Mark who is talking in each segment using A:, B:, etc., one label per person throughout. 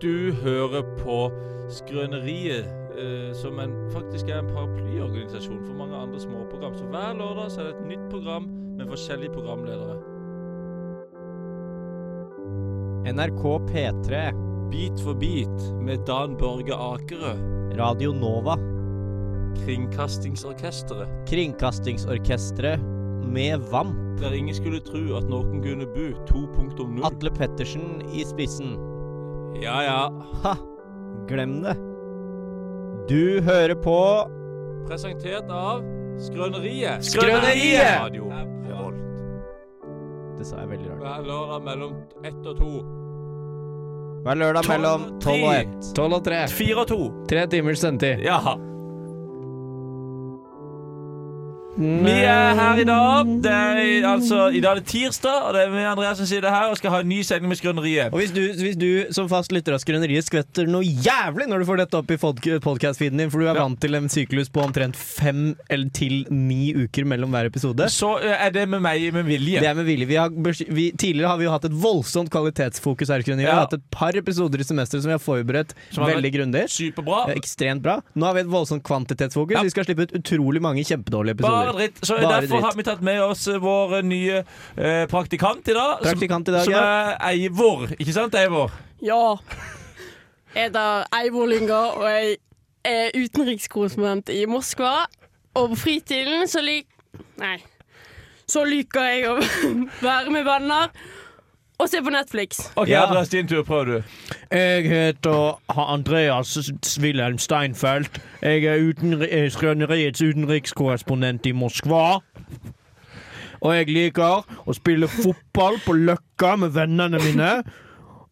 A: Du hører på Skrøneriet, eh, som en, faktisk er en paraplyorganisasjon for mange andre småprogram. Så hver lørdag så er det et nytt program med forskjellige programledere.
B: NRK P3,
A: Bit for bit med Dan Børge Akerø,
B: Radio Nova,
A: Kringkastingsorkesteret.
B: Kringkastingsorkestret med VAMP,
A: Der ingen skulle tru at noen kunne bu 2.0.
B: Atle Pettersen i spissen.
A: Ja ja.
B: Ha! Glem det. Du hører på
A: Presentert av Skrøneriet.
C: Skrøneriet!
A: Radio Revolt.
B: Det sa jeg veldig rart.
A: Hver lørdag mellom ett og to.
B: Hver lørdag mellom tolv og ett.
C: 12 og 3.
A: Fire og to.
C: Tre timers sendetid.
A: Ja.
B: Mm.
A: Vi er her i dag. Det er, i- altså, I dag er det tirsdag, og det er meg Andreas som sitter her og skal ha en ny sending med Skrøneriet.
B: Og hvis du, hvis du som fast lytter av Skrøneriet skvetter noe jævlig når du får dette opp i podkast-feeden din, for du er
A: Ja.
B: vant til en syklus på omtrent fem eller til ni uker mellom hver episode
A: Så ø, er det med meg med vilje.
B: Det er med vilje. Vi har, bes- vi, tidligere har vi jo hatt et voldsomt kvalitetsfokus her. Skrøneriet.
A: Ja.
B: Vi har hatt et par episoder i semesteret som vi har forberedt
A: Som har vært-
B: veldig grundig.
A: Superbra.
B: Eh, Ekstremt bra. Nå har vi et voldsomt kvantitetsfokus.
A: Ja.
B: Vi skal slippe ut utrolig mange kjempedårlige
A: Bare
B: episoder.
A: dritt. Så eh,
B: Bare
A: Derfor
B: dritt.
A: har vi tatt med oss ø, vår ø, nye ø, praktikant i dag. som-
B: Praktikant i dag,
A: som
B: ja.
A: er Eivor. Ikke sant, Eivor?
D: Ja. Jeg heter Eivor Lyngård, og jeg er utenrikskorrespondent i Moskva. Og på fritiden så lik... Nei. Så liker jeg å være med venner og se på Netflix.
A: OK,
B: Ja.
A: Andreas, din tur. Prøv, du.
B: Jeg heter Andreas Wilhelm Steinfeld. Jeg er Skrøneriets utenrikskorrespondent i Moskva. Og jeg liker å spille fotball på Løkka med vennene mine.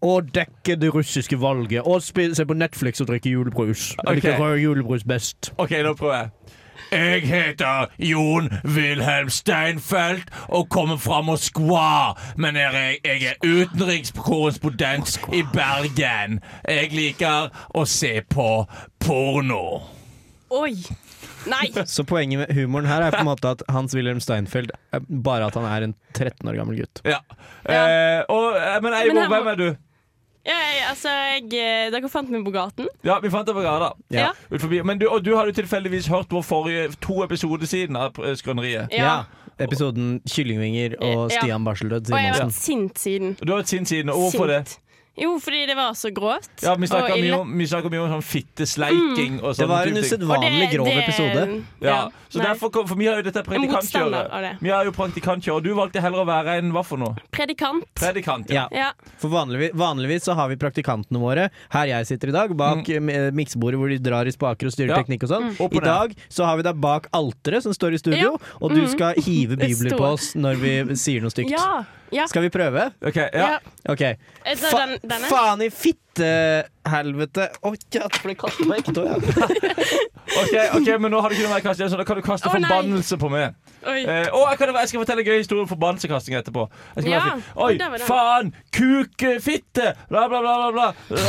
B: Og dekke det russiske valget. Og se på Netflix og drikke julebrus.
A: Jeg liker rød
B: julebrus best.
A: OK, nå prøver jeg. Jeg heter Jon Wilhelm Steinfeld og kommer fra Moskva. Men jeg er, jeg er utenrikskorrespondent i Bergen. Jeg liker å se på porno.
D: Oi. Nei.
B: Så poenget med humoren her er på en måte at Hans-Wilhelm Steinfeld er bare at han er en 13 år gammel gutt.
A: Ja.
D: Ja.
A: Eh, og, eh, men
D: Men
A: Eivor,
D: her må-
A: hvem er du?
D: Jeg, altså, jeg, eh, dere fant meg på gaten.
A: Ja, Vi fant deg på gata.
B: Ja.
A: Ut forbi. Men du, og du har jo tilfeldigvis hørt vår forrige to episoder siden av eh, Skrøneriet.
D: Ja.
B: Episoden 'Kyllingvinger' og
D: Ja.
B: Stian Barseldød
D: Og jeg har
B: Simonsen.
D: vært sint siden.
A: Du har et sint siden. Og hvorfor det?
D: sint. Jo, fordi det var så grovt.
A: Ja, Vi snakker
D: og
A: mye
D: ille.
A: om, vi snakker mye om sånn
D: Mm.
A: fittesleiking og
B: Det
A: sånne
B: var
A: Sånn type
B: en
A: ting.
D: Og det-
B: usedvanlig grov
D: det-
B: episode.
A: Ja, så
D: nei.
A: derfor kom, For vi har jo dette
D: motstander av
A: predikantkjøret.
D: det.
A: Vi har jo praktikantkjør, og du valgte heller å være en hva for noe?
D: Predikant.
A: Predikant.
B: Ja,
D: ja.
B: for vanligvis, vanligvis så har vi praktikantene våre her jeg sitter i dag, bak mm. miksebordet hvor de drar i spaker og styrer
A: Ja.
B: teknikk og sånn.
A: Opp og
B: I dag så har vi deg bak alteret som står i
D: Mm. Ja. Mm.
B: studio, og du skal hive
D: Det
B: bibler på
D: står.
B: oss når vi sier noe stygt.
D: Ja. ja.
B: Skal vi prøve?
A: Ok, ja.
D: ja.
B: OK.
D: Jeg tar
B: Fa
D: den, denne.
B: faen i fittehelvete Å ja, det ble kastet på ekte òg, ja.
A: Ok, ok, men nå har du ikke noe mer kasting, så da kan du kaste
D: Å, nei.
A: forbannelse på meg.
D: Oi.
A: Eh, å, jeg, kan, jeg skal fortelle en gøy historie om forbannelsekasting etterpå. Jeg skal
D: Ja,
A: være fin.
D: og der var
A: Oi,
D: den.
A: faen! Kukefitte! Bla, bla, bla, bla. bla.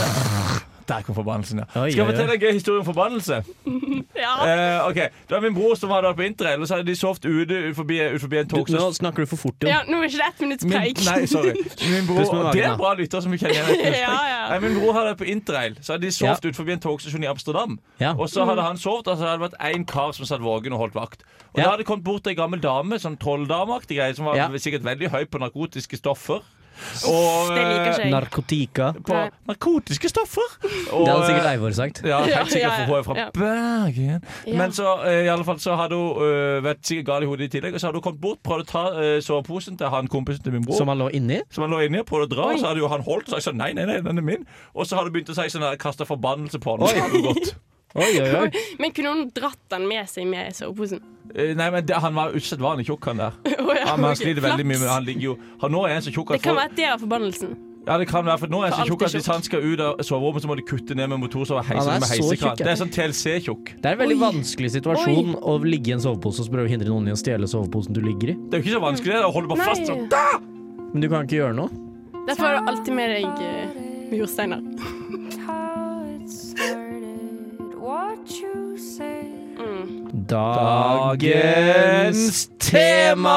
A: Der kom forbannelsen, ja. Skal jeg
B: Oi, oi, oi.
A: fortelle en gøy historie om forbannelse?
D: Ja.
A: Eh, ok, Det var min bror som hadde vært på interrail, og så hadde de sovet ute ut forbi, ut forbi en
B: Du,
A: togstasjon.
B: Nå snakker du for fort,
D: ja,
B: Jon.
D: nå er ikke det ett minutts
A: Min,
D: preik.
A: nei, sorry. Min
B: Pust med
A: bror,
B: magen,
A: det er
B: da.
A: bra lytter som vi kjenner igjen.
D: Ja, ja.
A: Nei, Min bror hadde vært på interrail. Så hadde de sovet ut forbi en togstasjon i Amsterdam.
B: Ja.
A: Og så
D: Mm.
A: hadde han sovet, og så hadde det vært én kar som satt våken og holdt vakt. Og
B: Ja.
A: da hadde det kommet bort ei gammel dame, sånn trolldameaktig greie, som var
B: Ja.
A: sikkert veldig høy på narkotiske stoffer. Og,
D: det liker ikke jeg.
B: Narkotika.
A: eh, På
D: Nei.
A: narkotiske stoffer!
B: Det hadde
A: eh,
B: sikkert Eivor sagt.
A: ja,
D: Ja,
A: helt sikkert
D: ja, ja.
A: for hun er fra
D: Ja.
A: Bergen.
D: Ja.
A: Men så eh, i alle fall så hadde hun eh, vært sikkert gal i hodet i tillegg, og så hadde hun kommet bort, prøvd å ta eh, soveposen til han kompisen til min bror.
B: Som han lå inni.
A: Som han lå inni og prøvde å dra,
D: Oi.
A: og så hadde jo han holdt og sagt sånn, nei, nei, nei, den er min. Og så hadde han begynt å si sånn der, kasta forbannelse på han. og så hadde det gått.
B: Oi, oi, oi.
D: Men kunne hun dratt den med seg med i soveposen?
A: Eh, Nei, men det, Han var usedvanlig tjukk, han der.
D: Å ja,
A: Han, men han
D: ok.
A: sliter
D: Flaks.
A: veldig mye, men han ligger jo han, Nå er han så tjukk
D: Det
A: at,
D: kan
A: for,
D: være at det er forbannelsen.
A: ja, det kan være, for nå er han så
D: For
A: tjukk
D: alt
A: at
D: er
A: hvis han skal ut av soverommet, så må de kutte ned med motorsåg og heise
B: Han
A: det
B: er
A: med
B: så tjukk,
A: heisekran.
B: ja.
A: Det er sånn TLC-tjukk.
B: Det er en veldig
D: Oi.
B: vanskelig situasjon å ligge i en sovepose og så prøve å hindre noen i å stjele soveposen du ligger i.
A: Det er jo ikke så vanskelig, det. er å holde bare fast sånn.
D: Mm. Nei.
B: Men du kan ikke gjøre noe.
D: Derfor har du alltid med deg eh, mursteiner.
E: how it started, what you said.
D: Mm.
A: Dagens tema!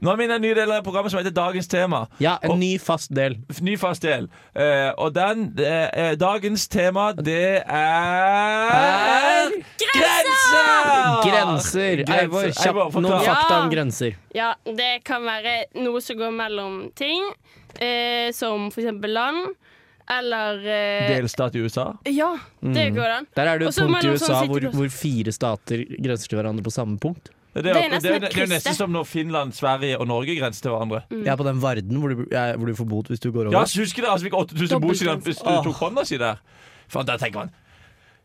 A: Nå er vi inne i en ny del av programmet som heter Dagens tema.
B: Ja, en
A: Og-
B: ny fast del.
A: Ny fast del. Eh, og den eh, eh, Dagens tema, det er
B: Ah,
A: Grenser!
B: Grenser. Eivor,
A: Grenser. Eivor,
B: kjapt noen
A: forklar.
B: fakta om
D: Ja.
B: grenser.
D: Ja, det kan være noe som går mellom ting, eh, som for eksempel land, eller eh,
A: Delstat i USA.
D: Ja, det går an.
B: Der er det jo et
D: Også
B: punkt i
D: mellom
B: USA
D: sånn
B: hvor,
D: sitter-
B: hvor fire stater grenser til hverandre på samme punkt.
A: Det
D: er
A: er,
D: nesten
A: det er,
D: et
A: det er jo
D: kryss, det.
A: nesten som når Finland, Sverige og Norge grenser til hverandre.
D: Mm.
B: Jeg er på den varden hvor du, jeg, hvor du får bot hvis du går
A: Ja,
B: over.
A: så husker dere altså, vi fikk 8000 bord siden hvis du tok hånda si der? Faen, da tenker man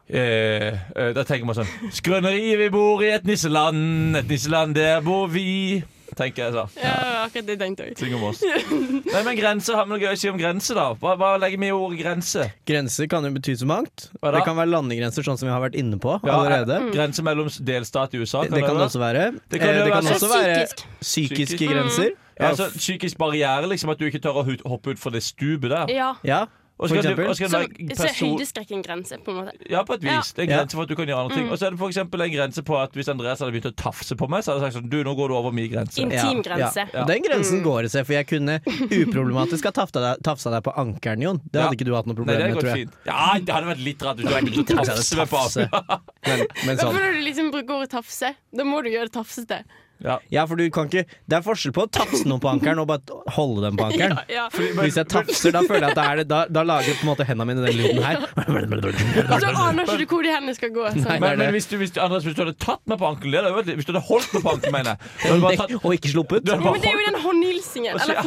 A: eh, eh, Da tenker man sånn Skrøneriet, vi bor i et nisseland, et nisseland, der bor vi. Tenker jeg, så.
D: Ja, akkurat det tenkte jeg.
A: Syng om oss. Nei, men grense, Har vi noe gøy å si om grense, da? Hva, hva legger vi i ordet grense?
B: Grenser kan jo bety så mangt.
A: Hva da?
B: Det kan være landegrenser, sånn som vi har vært inne på
A: Ja,
B: allerede.
D: Mm.
A: eh, Grense mellom s- delstat i USA?
B: Det kan det også være. Mm.
A: Det kan
B: Eh,
A: jo
B: det
A: være
B: kan
A: sånn-
B: også være
D: Psykisk.
A: Psykisk.
B: psykiske grenser.
A: Ja, altså, psykisk barriere, liksom. At du ikke tør å hu- hoppe utfor det stupet der.
D: Ja.
B: Ja,
A: Og
B: for
A: så kan du-
B: eksempel.
A: og så kan
D: Som,
A: det være
D: så er
A: person-
D: høydeskrekken grense, på en måte.
A: Ja, Mm. på et vis.
D: Ja.
A: Det er en
B: Ja.
A: grense for at du kan gjøre andre ting. Og så er det for eksempel en grense på at hvis Andreas hadde begynt å tafse på meg, så hadde jeg sagt sånn Du, nå går du over min grense.
D: In-
B: Ja,
D: Intimgrense.
B: Ja. Og Den
D: Mm.
B: grensen går det seg, for jeg kunne uproblematisk ha tafta deg, tafsa deg på ankelen, Jon. Det hadde
A: Ja.
B: ikke du hatt noe
A: Nei,
B: problem
A: det
B: med,
A: hadde
B: tror
A: gått
B: jeg.
A: fint. Ja, det hadde vært litt rart hvis du hadde begynt å tafse meg på
B: Tafse.
A: armen.
B: Men, men
D: Hvorfor
B: sånn.
D: når du liksom bruker ordet tafse? Da må du gjøre det tafsete.
A: Ja.
B: Ja, for du kan ikke Det er forskjell på å tafse noen på ankelen og bare holde dem på ankelen.
D: Ja.
B: Hvis jeg tafser, da føler jeg at det er det. Da, da lager på en måte hendene mine den lyden her.
D: Og så aner ikke du hvor de hendene skal gå.
B: Nei,
D: Sånn.
B: det er
A: Men, men
B: det.
A: hvis, du, hvis, du, Andreas, hvis du hadde tatt meg på ankelen, det hadde vært litt- hvis du hadde holdt meg på ankelen, mener jeg Da hadde du bare tatt-
B: Og ikke sluppet.
A: Du hadde
D: Ja,
A: bare
D: men det er jo den håndhilsingen.
A: Altså,
D: Eller
A: ja,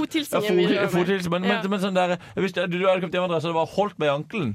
A: ja,
D: fothilsingen. vi
A: fot-
D: gjør med.
A: fothilsen, men, men,
D: Ja.
A: men sånn der, hvis du, du hadde kommet hjem, Andreas, så hadde du bare holdt meg i ankelen.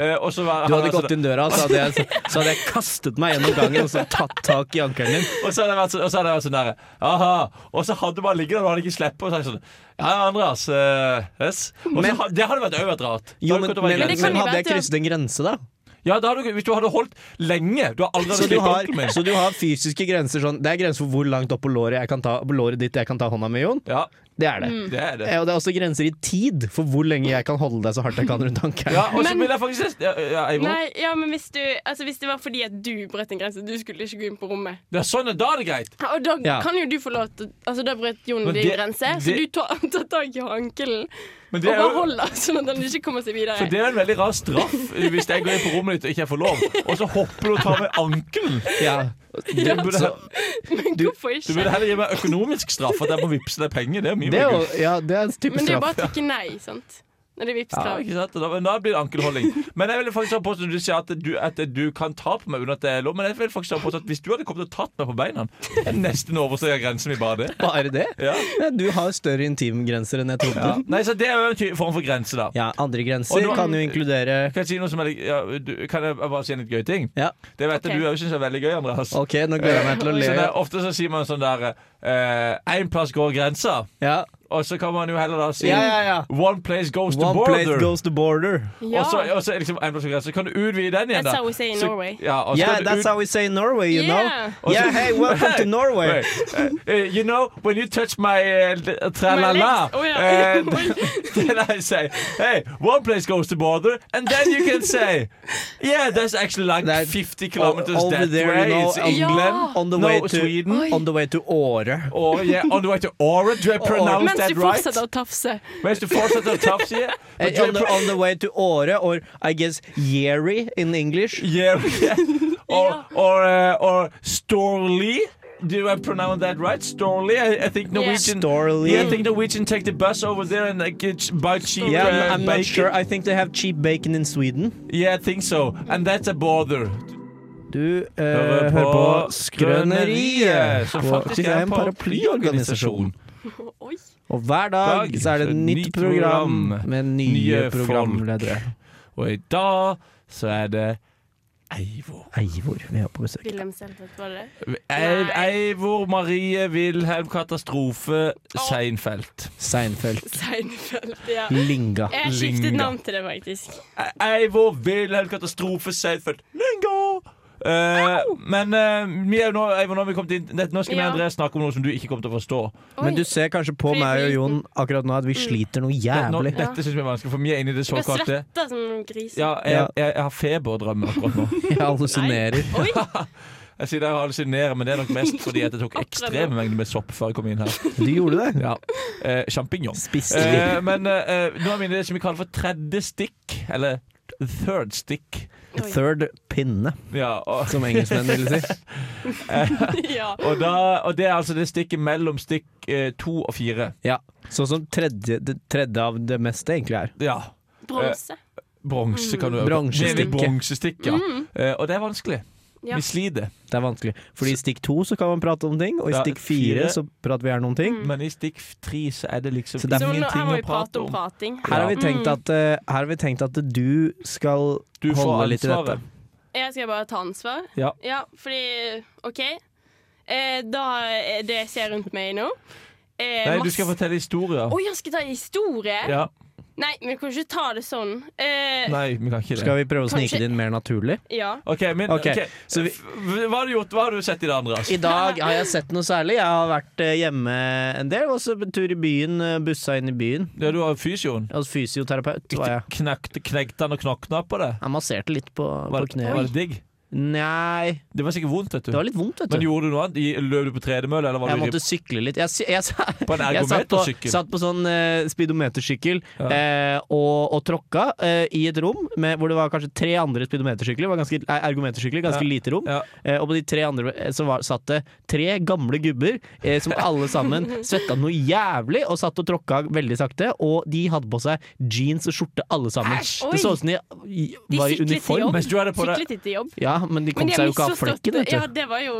A: Eh, og så var,
B: Du hadde
A: hadde
B: gått inn døra, så hadde jeg, så hadde jeg kastet meg gjennom gangen og så tatt tak i ankelen din.
A: Og så hadde jeg vært, så, og så hadde jeg vært sånn der Aha Og så hadde man ligget der og hadde ikke sleppet Og så hadde jeg sånn Ja, Andreas eh, yes. Og så
B: Men-
A: ha- det hadde vært også vært rart Da
B: Jo,
A: hadde
B: men,
A: du gått over
B: men,
A: en
D: det
A: grense.
D: kan
B: men
D: jo
B: hadde jeg
D: være at-
B: krysset en grense, da?
A: Ja, da hadde du Hvis du hadde holdt lenge Du har aldri
B: Så
A: hadde
B: du,
A: klippet
B: har,
A: onkelen min
B: så du har fysiske grenser sånn Det er grenser for hvor langt opp på låret, jeg kan ta, på låret ditt jeg kan ta hånda mi, Jon.
A: Ja,
B: Det er det.
D: Mm.
A: det er det
B: Eh, Og det er også grenser i tid for hvor lenge jeg kan holde deg så hardt jeg kan rundt
A: Ja,
B: ankelen.
A: og så
D: Men-
A: vil jeg faktisk Ja, ja Eivor
D: Nei, ja, men hvis, du, altså, hvis det var fordi at du brøt en grense, du skulle ikke gå inn på rommet
A: Ja, sånn er da er det greit
D: Ja, Og da
B: Ja.
D: kan jo du få lov til Altså, da brøt Jon
A: Men
D: din
A: det-
D: grense, så
A: det-
D: du tar, tar tak i ankelen
A: Men
D: og
A: det er
D: bare
A: jo
D: holder, sånn at han ikke kommer seg videre.
A: for det er en veldig rar straff Hvis jeg går inn på rommet ditt og ikke jeg får lov Og så hopper du og tar meg ankelen
B: Ja.
A: Du burde,
B: Så-
D: Men hvorfor
A: du
D: ikke?
A: burde heller gi meg økonomisk straff At jeg må vipse deg penger Det er mye
B: Det er
A: mer
B: jo
A: gull
B: ja, det er en type
D: Men det er jo
B: straff.
D: bare å takke nei, sant? Når det er
A: Ja,
D: Vipps-krav.
A: ikke sant? Da, men da blir det ankelholding. Men jeg vil faktisk ha påstått at du sier at du, at du kan ta på meg under at det er lov. Men jeg vil faktisk ha påstått at hvis du hadde kommet og tatt meg på beina, det er nesten oversteget grensen min bare det.
B: Bare det?
A: Ja.
B: Ja, du har større intimgrenser enn jeg
A: Ja.
B: trodde.
A: Nei, så det er jo en ty- form for grense, da.
B: Ja, andre
A: Og
B: grenser
A: nå-
B: kan jo inkludere
A: Kan jeg, si noe som er, litt- ja, du, kan jeg bare si en litt gøy ting?
B: Ja,
A: Det vet jeg
D: Ok.
A: du òg syns er veldig gøy, Andreas.
B: OK, nå gleder jeg meg til å
A: Sånn
B: le.
A: der, ofte så sier man sånn der Én plass går grensa.
B: Ja,
A: Og så kan man jo heller da si
B: ja, ja. ja.
A: One place goes to
B: One place
A: border.
B: goes to border.
D: Ja.
A: Og så, og så er liksom en plass går grensa. Kan du utvide den igjen,
D: That's
A: da?
D: how we say in
A: Så-
D: Norway.
A: Ja, og så
B: Yeah,
A: kan du
B: that's
A: ut-
B: how we say in Norway, you know.
D: Yeah.
B: Yeah, hey, welcome to Norway.
A: Wait, uh, uh, you know, when you touch my uh, d- uh, tra-la-la,
D: legs. Oh, yeah.
A: uh, then I say, hey, one place goes to border, and then you can say, yeah, that's actually like
B: That-
A: 50 kilometers
B: over
A: that
B: there,
A: way.
B: you know,
A: it's
B: um,
A: England,
B: On the
A: no,
B: way to
A: Sweden.
B: On the way to Åre.
A: Or, yeah, on the way to Aura, do I pronounce
D: Mens
A: that
D: du
A: right?
D: fortsetter å tafse.
A: Mens du fortsetter å tafse, yeah?
B: Eh,
A: But do I
B: on, the,
A: pro-
B: on the way to Åre, or I guess Yeri in English.
A: yeah, yeah. Or, or, uh, or Storley? Do I pronounce that right? Storley? I, I think Norwegian...
B: Storley.
A: Yeah, I think Norwegian take the bus over there and like, get ch- buy cheap
B: Yeah,
A: uh,
B: I'm, I'm
A: bacon.
B: not sure. I think they have cheap bacon in Sweden.
A: Yeah, I think so. And that's a bother.
B: Du hører Eh, på, Skrøneriet,
A: som
B: på-
A: faktisk
B: til
A: er
B: en
A: en paraplyorganisasjon.
B: paraplyorganisasjon.
D: Oi.
B: Og hver dag så er det et nytt program med nye
A: nye folk.
B: programledere.
A: Og i dag så er det Eivor.
B: Eivor, vi er på besøk.
D: Wilhelm Selfet, var det det?
A: Ei-
D: Nei.
A: Eivor Marie Wilhelm Katastrofe Seinfeld.
B: Seinfeld.
D: Seinfeld, ja.
B: Linga.
D: Jeg har skiftet
A: Linga.
D: navn til det, faktisk.
A: E- Eivor Wilhelm Katastrofe Seinfeld. Lingo! Eh, men eh, vi er jo nå, Eivor, nå, har vi kommet inn, nett- nå skal vi
D: Ja.
A: og André snakke om noe som du ikke kommer til å forstå.
D: Oi.
B: Men du ser kanskje på
D: Fordi
B: meg og
D: vi-
B: Jon akkurat nå at vi sliter noe
A: Nå,
B: jævlig.
A: dette syns vi er vanskelig, for vi er inne i det
D: Jeg
A: såkalte
D: svetter som noen griser.
A: ja, jeg, jeg, jeg har feberdrømme akkurat nå.
B: Jeg hallusinerer.
D: Oi.
A: Jeg sier det jeg hallusinerer, men det er nok mest fordi at jeg tok ekstreme mengder med sopp før jeg kom inn her.
B: Du gjorde det?
A: Ja. Eh, Sjampinjong.
B: Spiste vi.
A: Eh, men eh, nå er vi inne i det som vi kaller for tredje stikk, eller third stick.
D: Oi.
B: Third pinne,
A: Ja, og,
B: som engelskmenn ville si.
D: ja.
A: og, da, og det er altså det stikket mellom stikk eh, to og fire.
B: Ja. Sånn som tredje, det tredje av det meste egentlig er.
A: Ja.
D: Bronse.
A: Bronse kan du øve på.
B: Bronsestikk.
A: Det er Bronsestikk, ja. Eh, og det er vanskelig.
D: Mm. Ja.
A: Vi sliter.
B: Det er vanskelig. Fordi i stikk to så kan man prate om ting, og i
A: Ja,
B: stikk fire Mm.
A: fire.
B: så prater vi gjerne om ting.
A: Men i stikk f- tre så er det liksom
B: Så det er
D: Mm. Så nå, her
A: ingenting
D: må
A: å
D: vi prate
A: prate
D: om
A: om.
D: prating.
B: Her har vi tenkt at, eh, her har vi tenkt at du skal
A: Du får
B: holde litt i dette.
A: ansvaret.
D: Jeg skal bare ta ansvar.
A: Ja.
D: fordi OK. Eh, da er det jeg ser rundt meg nå eh,
A: Nei, du skal fortelle historier.
D: Å, jeg skal ta historie?
A: Ja.
D: Nei, vi kan ikke ta det sånn. Eh,
A: Nei, vi kan ikke det.
B: Skal vi prøve å
D: Kanskje-
B: snike det inn mer naturlig?
D: ja.
A: OK, men
B: Ok,
A: ok.
B: så vi-
A: F- Hva har du gjort? Hva har du sett i det andre?
B: I dag har jeg sett noe særlig. Jeg har vært eh, hjemme en del, og så en tur i byen. eh, Bussa inn i byen.
A: Ja, du har fysioen.
B: Jeg var Hos fysioterapeut var jeg.
A: Knekte, knekte han og knakna på det?
B: Jeg masserte litt på,
A: Var,
B: på
A: var det
B: kneet.
A: digg?
B: Nei,
A: Det var sikkert vondt, vet du.
B: det var litt vondt, vet
A: Men
B: du.
A: gjorde du noe annet? I- Løp du på tredemølle, eller var
B: Jeg
A: du i-
B: måtte sykle litt. Jeg, sy- jeg, sa-
A: På en
B: jeg satt, på,
A: ergometersykkel?
B: satt på sånn eh, speedometersykkel
A: Ja.
B: eh, og, og tråkka eh, i et rom med, hvor det var kanskje tre andre speedometersykler. Det var ganske, nei, ergometersykler, ganske lite rom.
A: Ja.
B: Eh, og på de tre andre eh, så var, satt det tre gamle gubber eh, som alle sammen svetta noe jævlig og satt og tråkka veldig sakte. Og de hadde på seg jeans og skjorte alle sammen.
D: Oi.
B: Det så ut som de i-
D: De
B: var i
D: syklet til
B: uniform.
D: jobb.
A: Mens du hadde på deg
D: Syklet litt til jobb.
B: Ja, men de kom
D: de
B: seg jo ikke av flekken, vet du.
D: Ja, det var jo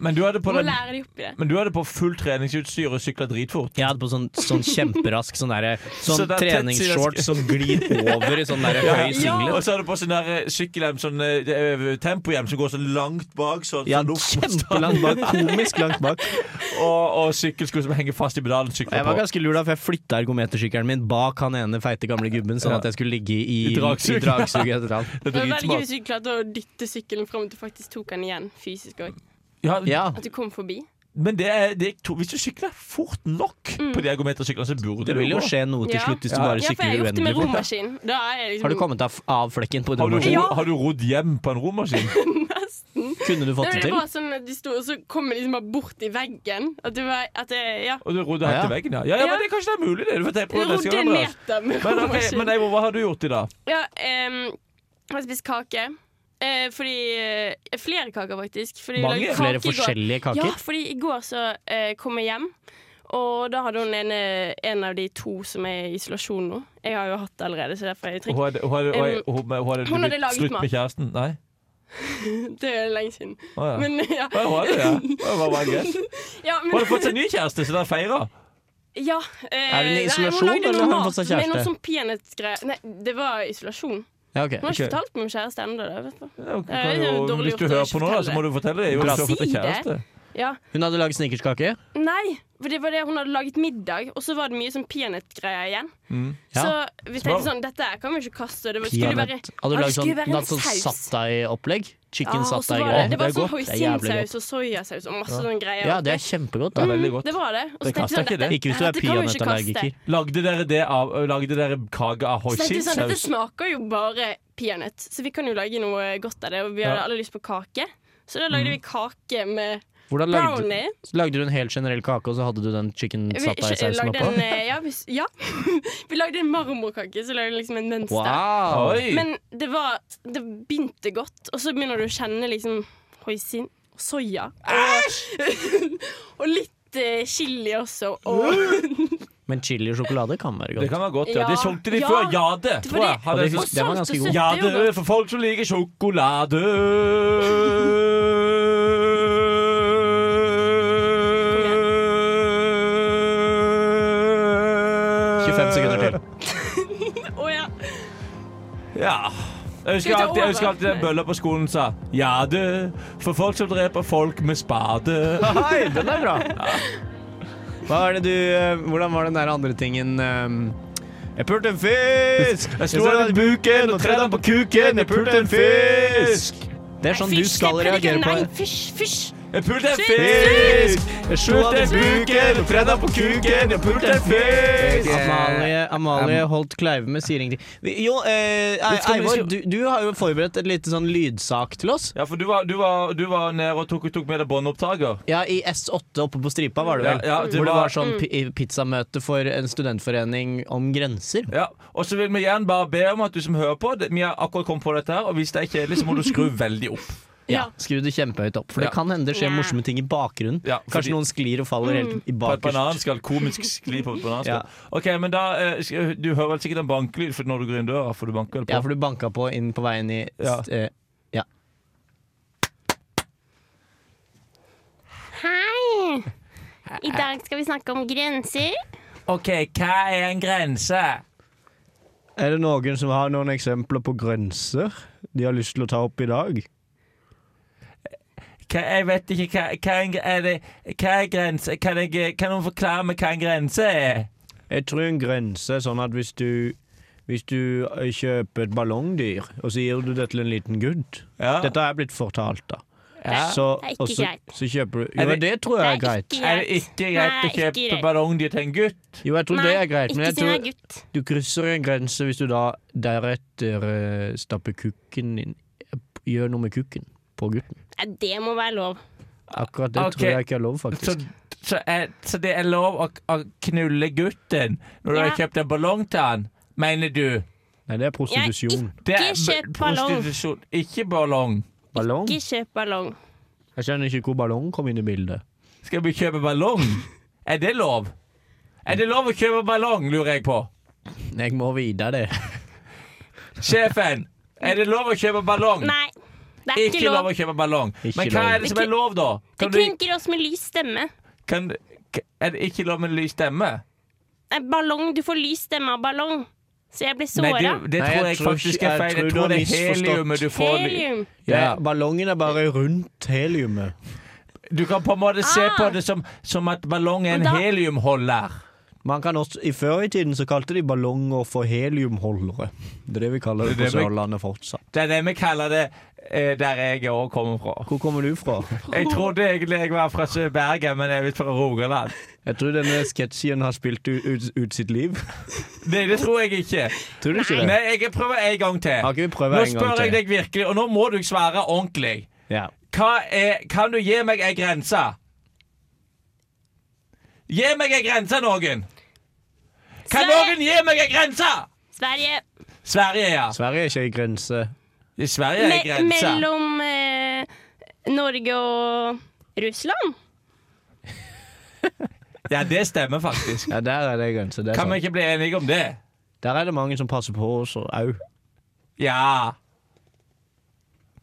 A: Men du hadde på
D: Må
A: deg
D: lære de opp i det.
A: Men du hadde på fullt treningsutstyr og sykla dritfort.
B: Jeg hadde på sånn, sånn kjemperask sånn derre Sånn
A: Så det er tett
B: treningsshorts
A: siden-
B: som glir over i sånn derre høy
A: Og
B: singlet.
A: så har du på sånn der eh, sykkelhjem, sånn eh, eh, tempohjem som går så langt bak, sånn,
B: Ja,
A: sånn luftmotstand,
B: kjempelangt bak. Komisk langt bak.
A: og, og sykkelsko som henger fast i pedalen.
B: Og
A: Sykler
B: jeg var
A: på.
B: ganske lur, da, for jeg flytta ergometersykkelen min bak han ene feite gamle gubben, sånn
A: Ja.
B: at jeg skulle ligge i,
A: I
B: i
A: dragsug.
B: dragsuget etter han.
A: Det
D: Det var
A: er
D: veldig gøy hvis
A: dritsmart.
D: du klarte å dytte sykkelen fram til du faktisk tok den igjen fysisk òg.
B: Mm.
A: Ja,
B: Ja.
D: At du kom forbi.
A: men det er, det er to, hvis du sykler fort nok
D: Mm.
A: på de ergometersyklene, så burde
B: Det vil jo
A: gå.
B: skje noe til
D: Ja.
B: slutt hvis du
A: Ja.
B: bare
D: Ja, for jeg
B: sykler
D: har gjort det
B: uendelig
D: med
B: fort.
D: romaskin. Da er jeg liksom
B: Har du kommet av, av flekken på en
A: Har du,
B: romaskin?
D: Ja.
A: ro- har du rodd hjem på en romaskin?
B: Kunne du
D: Nei,
B: fått det
D: men det
B: til?
D: var sånn at de sto, og så kom jeg liksom bare bort i veggen. At det var at det, ja.
A: Og du rodde helt
B: Ja, ja.
A: til veggen, ja. Ja, ja,
D: Ja.
A: men det, Kanskje det er mulig, det. Du får tenke på det neste
D: Rodde en
A: gang. Andreas.
D: meter med
A: Men, ok,
D: romaskin.
A: men Eivor, hva har du gjort i dag?
D: Ja, ehm, jeg har spist kake. Eh, fordi eh, Flere kaker, faktisk. Fordi vi
B: Mange?
D: lagde kake i
B: Flere
D: går.
B: forskjellige kaker?
D: Ja, fordi i går så eh, kom jeg hjem, og da hadde hun en, eh, en av de to som er i isolasjon nå. Jeg har jo hatt det allerede, så derfor er jeg
A: Hun
D: trygg.
A: hadde, hun hadde, hun hadde, hun hadde, hun hadde,
D: Um, Hun hadde laget
A: slutt
D: mat.
A: med kjæresten? Nei?
D: Det er lenge siden.
A: Å, ja.
D: Men ja.
A: Ja, hun hadde det. ja. Det var bare greit.
D: ja
A: Hun
D: men,
A: hadde fått seg ny kjæreste, så dere feira.
D: ja eh,
B: Er hun i
D: nei,
B: isolasjon,
D: lagde
B: eller
D: noe
B: har hun
D: mat.
B: fått seg
D: Det er
B: kjæreste?
D: noe sånn peanøttgreier. Nei, det var isolasjon.
B: Ja, ok.
D: Hun har ikke
B: Ok.
D: fortalt meg om kjæreste ennå. da, vet du.
A: Ja, ok,
D: Det er
A: kan
D: jo
A: jo-
D: dårlig
A: Hvis du
D: gjort å
A: hører
D: ikke
A: på nå, da, så
D: fortelle.
A: må du fortelle det. Jo,
D: Bra.
A: du har fått en
D: Si det.
A: kjæreste.
D: Ja.
B: Hun hadde lagd snikerskake.
D: Nei, for det var det hun hadde laget middag, og så var det mye sånn peanøttgreier igjen.
B: Mm. Ja.
D: Så vi tenkte sånn, dette her kan vi ikke kaste. Det var, skulle være,
B: Peanøtt. Hadde du
D: Ja, det
B: lagd sånn,
D: skulle være
B: hun
D: en
B: hadde sånn
D: saus.
B: satay-opplegg?
D: ja,
B: Chicken
D: og så var det,
B: satay-greier.
D: det var
A: Det er godt.
D: sånn
B: Det er jævlig
D: hoisinsaus og soyasaus og masse sånne greier.
B: Ja, det er kjempegodt,
A: Det
B: da.
A: er veldig godt.
D: Det var det. Og
A: Det
D: så tenkte vi
A: kaster
D: sånn,
A: ikke det.
D: dette-
B: Ikke hvis du er
D: dette kan vi ikke kaste.
B: peanøttallergiker.
A: Lagde dere, det av, lagde dere kake av
D: Så tenkte vi sånn, dette
A: hoisinsaus?
D: smaker jo bare peanøtt, så vi kan jo lage noe godt av det, og vi hadde
A: Ja.
D: alle lyst på kake. Så da lagde vi kake med
B: Hvordan Mm. lagde,
D: brownie.
B: lagde du en helt generell kake, og så hadde du den chicken
D: Vi,
B: satay-sausen
D: lagde en,
B: oppå?
D: eh, ja, vi, ja. vi lagde en marmorkake, så lagde vi liksom en mønster.
B: Wow!
A: Oi!
D: Men det var Det begynte godt, og så begynner du å kjenne liksom hoisin og soya. Og, og litt eh, chili også. Og,
B: Men chili og sjokolade kan være
A: Det
B: godt.
A: kan være godt, ja.
D: Ja.
A: Det solgte de
D: Ja.
A: før. Jade,
D: Det var
A: tror jeg. Hadde
D: det-
A: en
B: Og det
A: sånn-
B: husker- den var ganske god.
D: salt og søtt,
A: Ja,
D: det er jo
A: det er for folk som liker sjokolade.
B: sekunder til.
D: godt. Å ja.
A: Ja. Jeg husker
D: Skal vi ta
A: alltid, jeg husker
D: over?
A: alltid den
D: Nei.
A: bølla på skolen sa Ja, du, for folk som dreper folk med spade.
B: Hei, den er bra! Hva er det du eh, Hvordan var den der andre tingen eh, Jeg pulte en fisk!
A: Jeg slo han i buken og tredde han på kuken. Jeg pulte en fisk.
B: Det er sånn du skal reagere på
D: Nei,
B: det.
D: fysj, fysj.
A: Jeg pulte en
B: Fisk!
A: fisk. Jeg pulte en buken og tredde han på kuken. Jeg pulte en fisk.
B: Amalie
F: eh, Amalie Holt Kleive med sier ingenting. Vi- Jo, eh,
A: skal vi-
F: Eivor,
A: skal-
F: du, du har jo forberedt et lite sånn lydsak til oss.
A: Ja, for du var, du var, du var nede og tok, tok med deg båndopptaker.
F: Ja, i S8 oppe på Stripa var det
A: Ja,
F: vel.
A: ja, det
F: Hvor det
A: var-
F: var
G: Mm.
F: sånn pi pizzamøte for en studentforening om grenser.
A: Ja, Og så vil vi igjen bare be om at du som hører på det- Vi har akkurat kommet på dette her, og hvis det er kjedelig, så må du skru veldig opp.
G: Ja.
F: Skru det kjempehøyt opp, for det
A: Ja.
F: kan hende det skjer
G: Ja. Mm.
F: morsomme ting i bakgrunnen.
A: Ja, fordi-
F: Kanskje noen sklir og faller helt i
A: På et
F: bakerst.
A: bananskall. Komisk skli på et bananskall.
F: Ja.
A: Ok, men da eh, sk- Du hører vel sikkert en bankelyd for når du går inn døra, for du banker vel på?
F: Ja, for du banka på inn på veien i
A: Ja.
F: eh, ja.
D: Hei! I dag skal vi snakke om grenser.
A: OK, hva er en grense?
B: Er det noen som har noen eksempler på grenser de har lyst til å ta opp i dag?
A: Hva, jeg vet ikke hva, hva, en, gre- er det, hva er grense kan, jeg, kan noen forklare meg hva en grense er?
B: Jeg tror en grense er sånn at hvis du, hvis du eh, kjøper et ballongdyr, og så gir du det til en liten gutt
A: Ja.
B: Dette er blitt fortalt, da.
A: Ja.
B: Så,
D: Det er ikke
B: og så,
D: greit.
B: så kjøper du
A: Er
B: Jo,
A: det-
B: det tror jeg er
D: Det er
B: greit.
D: ikke
A: Er det ikke greit
D: Nei,
A: å kjøpe
D: ikke greit.
A: ballongdyr til en gutt?
B: Jo, jeg tror det er greit, men
D: ikke
B: jeg
D: siden
B: tror
D: jeg er gutt.
B: du krysser en grense hvis du da deretter eh, stapper kukken din Gjør noe med kukken på gutten.
D: Nei, det må være lov.
B: Akkurat det
A: Ok.
B: tror jeg ikke er lov, faktisk.
A: Så, så, er, så det er lov å, å knulle gutten når du
D: Ja.
A: har kjøpt en ballong til han, mener du?
B: Nei, det er prostitusjon.
A: Det
D: Ikke kjøp
A: b-
D: ballong.
A: prostitusjon. Ikke ballong.
B: Ballong?
D: Ikke kjøp ballong.
A: Mm.
B: Jeg skjønner ikke hvor ballong kom inn i bildet.
A: Skal vi kjøpe ballong? Er det lov? Er det lov å kjøpe ballong, lurer jeg på.
B: Jeg må vite det.
A: Sjefen, er det lov å kjøpe ballong?
D: Nei, det er
A: Ikke lov å kjøpe ballong.
B: Ikke
A: Men hva
B: lov.
A: er det som er lov, da?
D: Det
A: Kan du,
D: krenker oss med lys stemme.
A: kan, er det ikke lov med lys stemme?
D: Nei, ballong, du får lys stemme av ballong. Så jeg ble
A: Nei, det,
D: såra.
A: det
B: Nei, jeg
A: tror jeg
B: tror
A: faktisk
B: ikke-
A: er
B: jeg
A: feil. Jeg
B: tror du har
A: tror det er
B: misforstått.
A: heliumet du får.
D: Helium.
B: Ja.
A: Ja.
B: Ballongen er bare rundt heliumet.
A: Du kan på en måte se
D: Ah.
A: på det som, som at ballong er en
D: Men da-
A: heliumholder.
B: Man kan også, i Før i tiden så kalte de ballonger for heliumholdere. Det er det vi kaller det
A: Det er det
B: på
A: vi-
B: Sørlandet fortsatt.
A: Det er det vi kaller det eh, der jeg òg kommer fra.
B: Hvor kommer du fra?
A: Jeg trodde egentlig jeg var fra Sør- Bergen, men jeg er litt fra Rogaland.
B: Jeg tror denne sketsjen har spilt ut, ut, ut sitt liv.
A: Nei, det tror jeg ikke.
B: Tror du ikke det?
A: Nei, jeg prøver en gang
B: Har
A: til.
B: ikke vi prøvd
A: Nå
B: en gang
A: spør jeg
B: til?
A: deg virkelig, og nå må du svare ordentlig.
B: Ja.
A: Hva er Kan du gi meg ei grense? Gi meg ei grense, noen! Kan
D: Sverige.
A: noen gi meg ei grense?
D: Sverige.
A: Sverige, ja.
B: Sverige er ikke ei grense.
A: I Sverige er
D: Me
A: ei grense.
D: mellom eh, Norge og Russland.
A: Ja, det stemmer faktisk.
B: Ja, der er det ei grense. Det er
A: Kan vi
B: sant.
A: ikke bli enige om det?
B: Der er det mange som passer på oss òg.
A: Ja.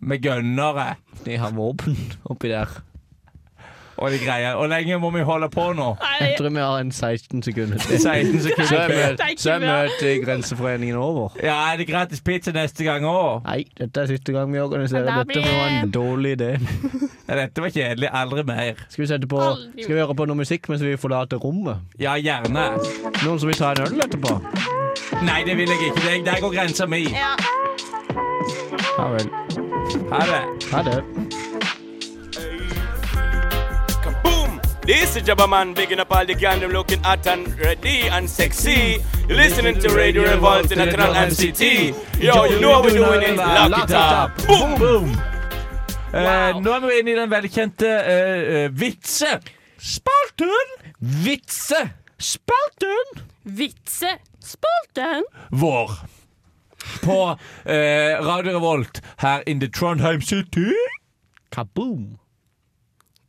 A: Med gønnere
B: De har våpen oppi der.
A: og de greier. Hvor lenge må vi holde på nå?
B: Jeg tror vi har en 16 sekunder til.
A: 16
B: Så er,
A: sekunder.
B: mø-
D: Det er ikke
B: så er
D: bra.
B: møtet i Grenseforeningen over.
A: Ja, er det gratis pizza neste gang òg?
B: Nei, dette er siste gang vi organiserer
D: Ja, da
B: dette. Det var
D: blir-
B: en dårlig idé.
A: Ja, dette var kjedelig. Aldri mer.
B: Skal vi, sette på,
D: Aldri.
B: skal vi høre på noe musikk mens vi forlater rommet?
A: Ja, gjerne.
B: Noen som vil ta en øl etterpå?
A: Nei, det vil jeg ikke. Det- Der går grensa mi.
B: Ja vel.
A: Ha det.
B: Ha det.
H: Boom! This is Jabba Man, bigging up all the gang, them looking hot and ready and sexy. You're listening to Radio Revolt International MCT. Yo, you know what we're doing it. Lock it up. Boom!
A: boom. Eh, nå er vi inne i den velkjente eh, eh, vitsespalten. Vitsespalten.
D: Vitsespalten.
A: vår på eh, Radio Revolt her in the Trondheim City.
B: Kaboom!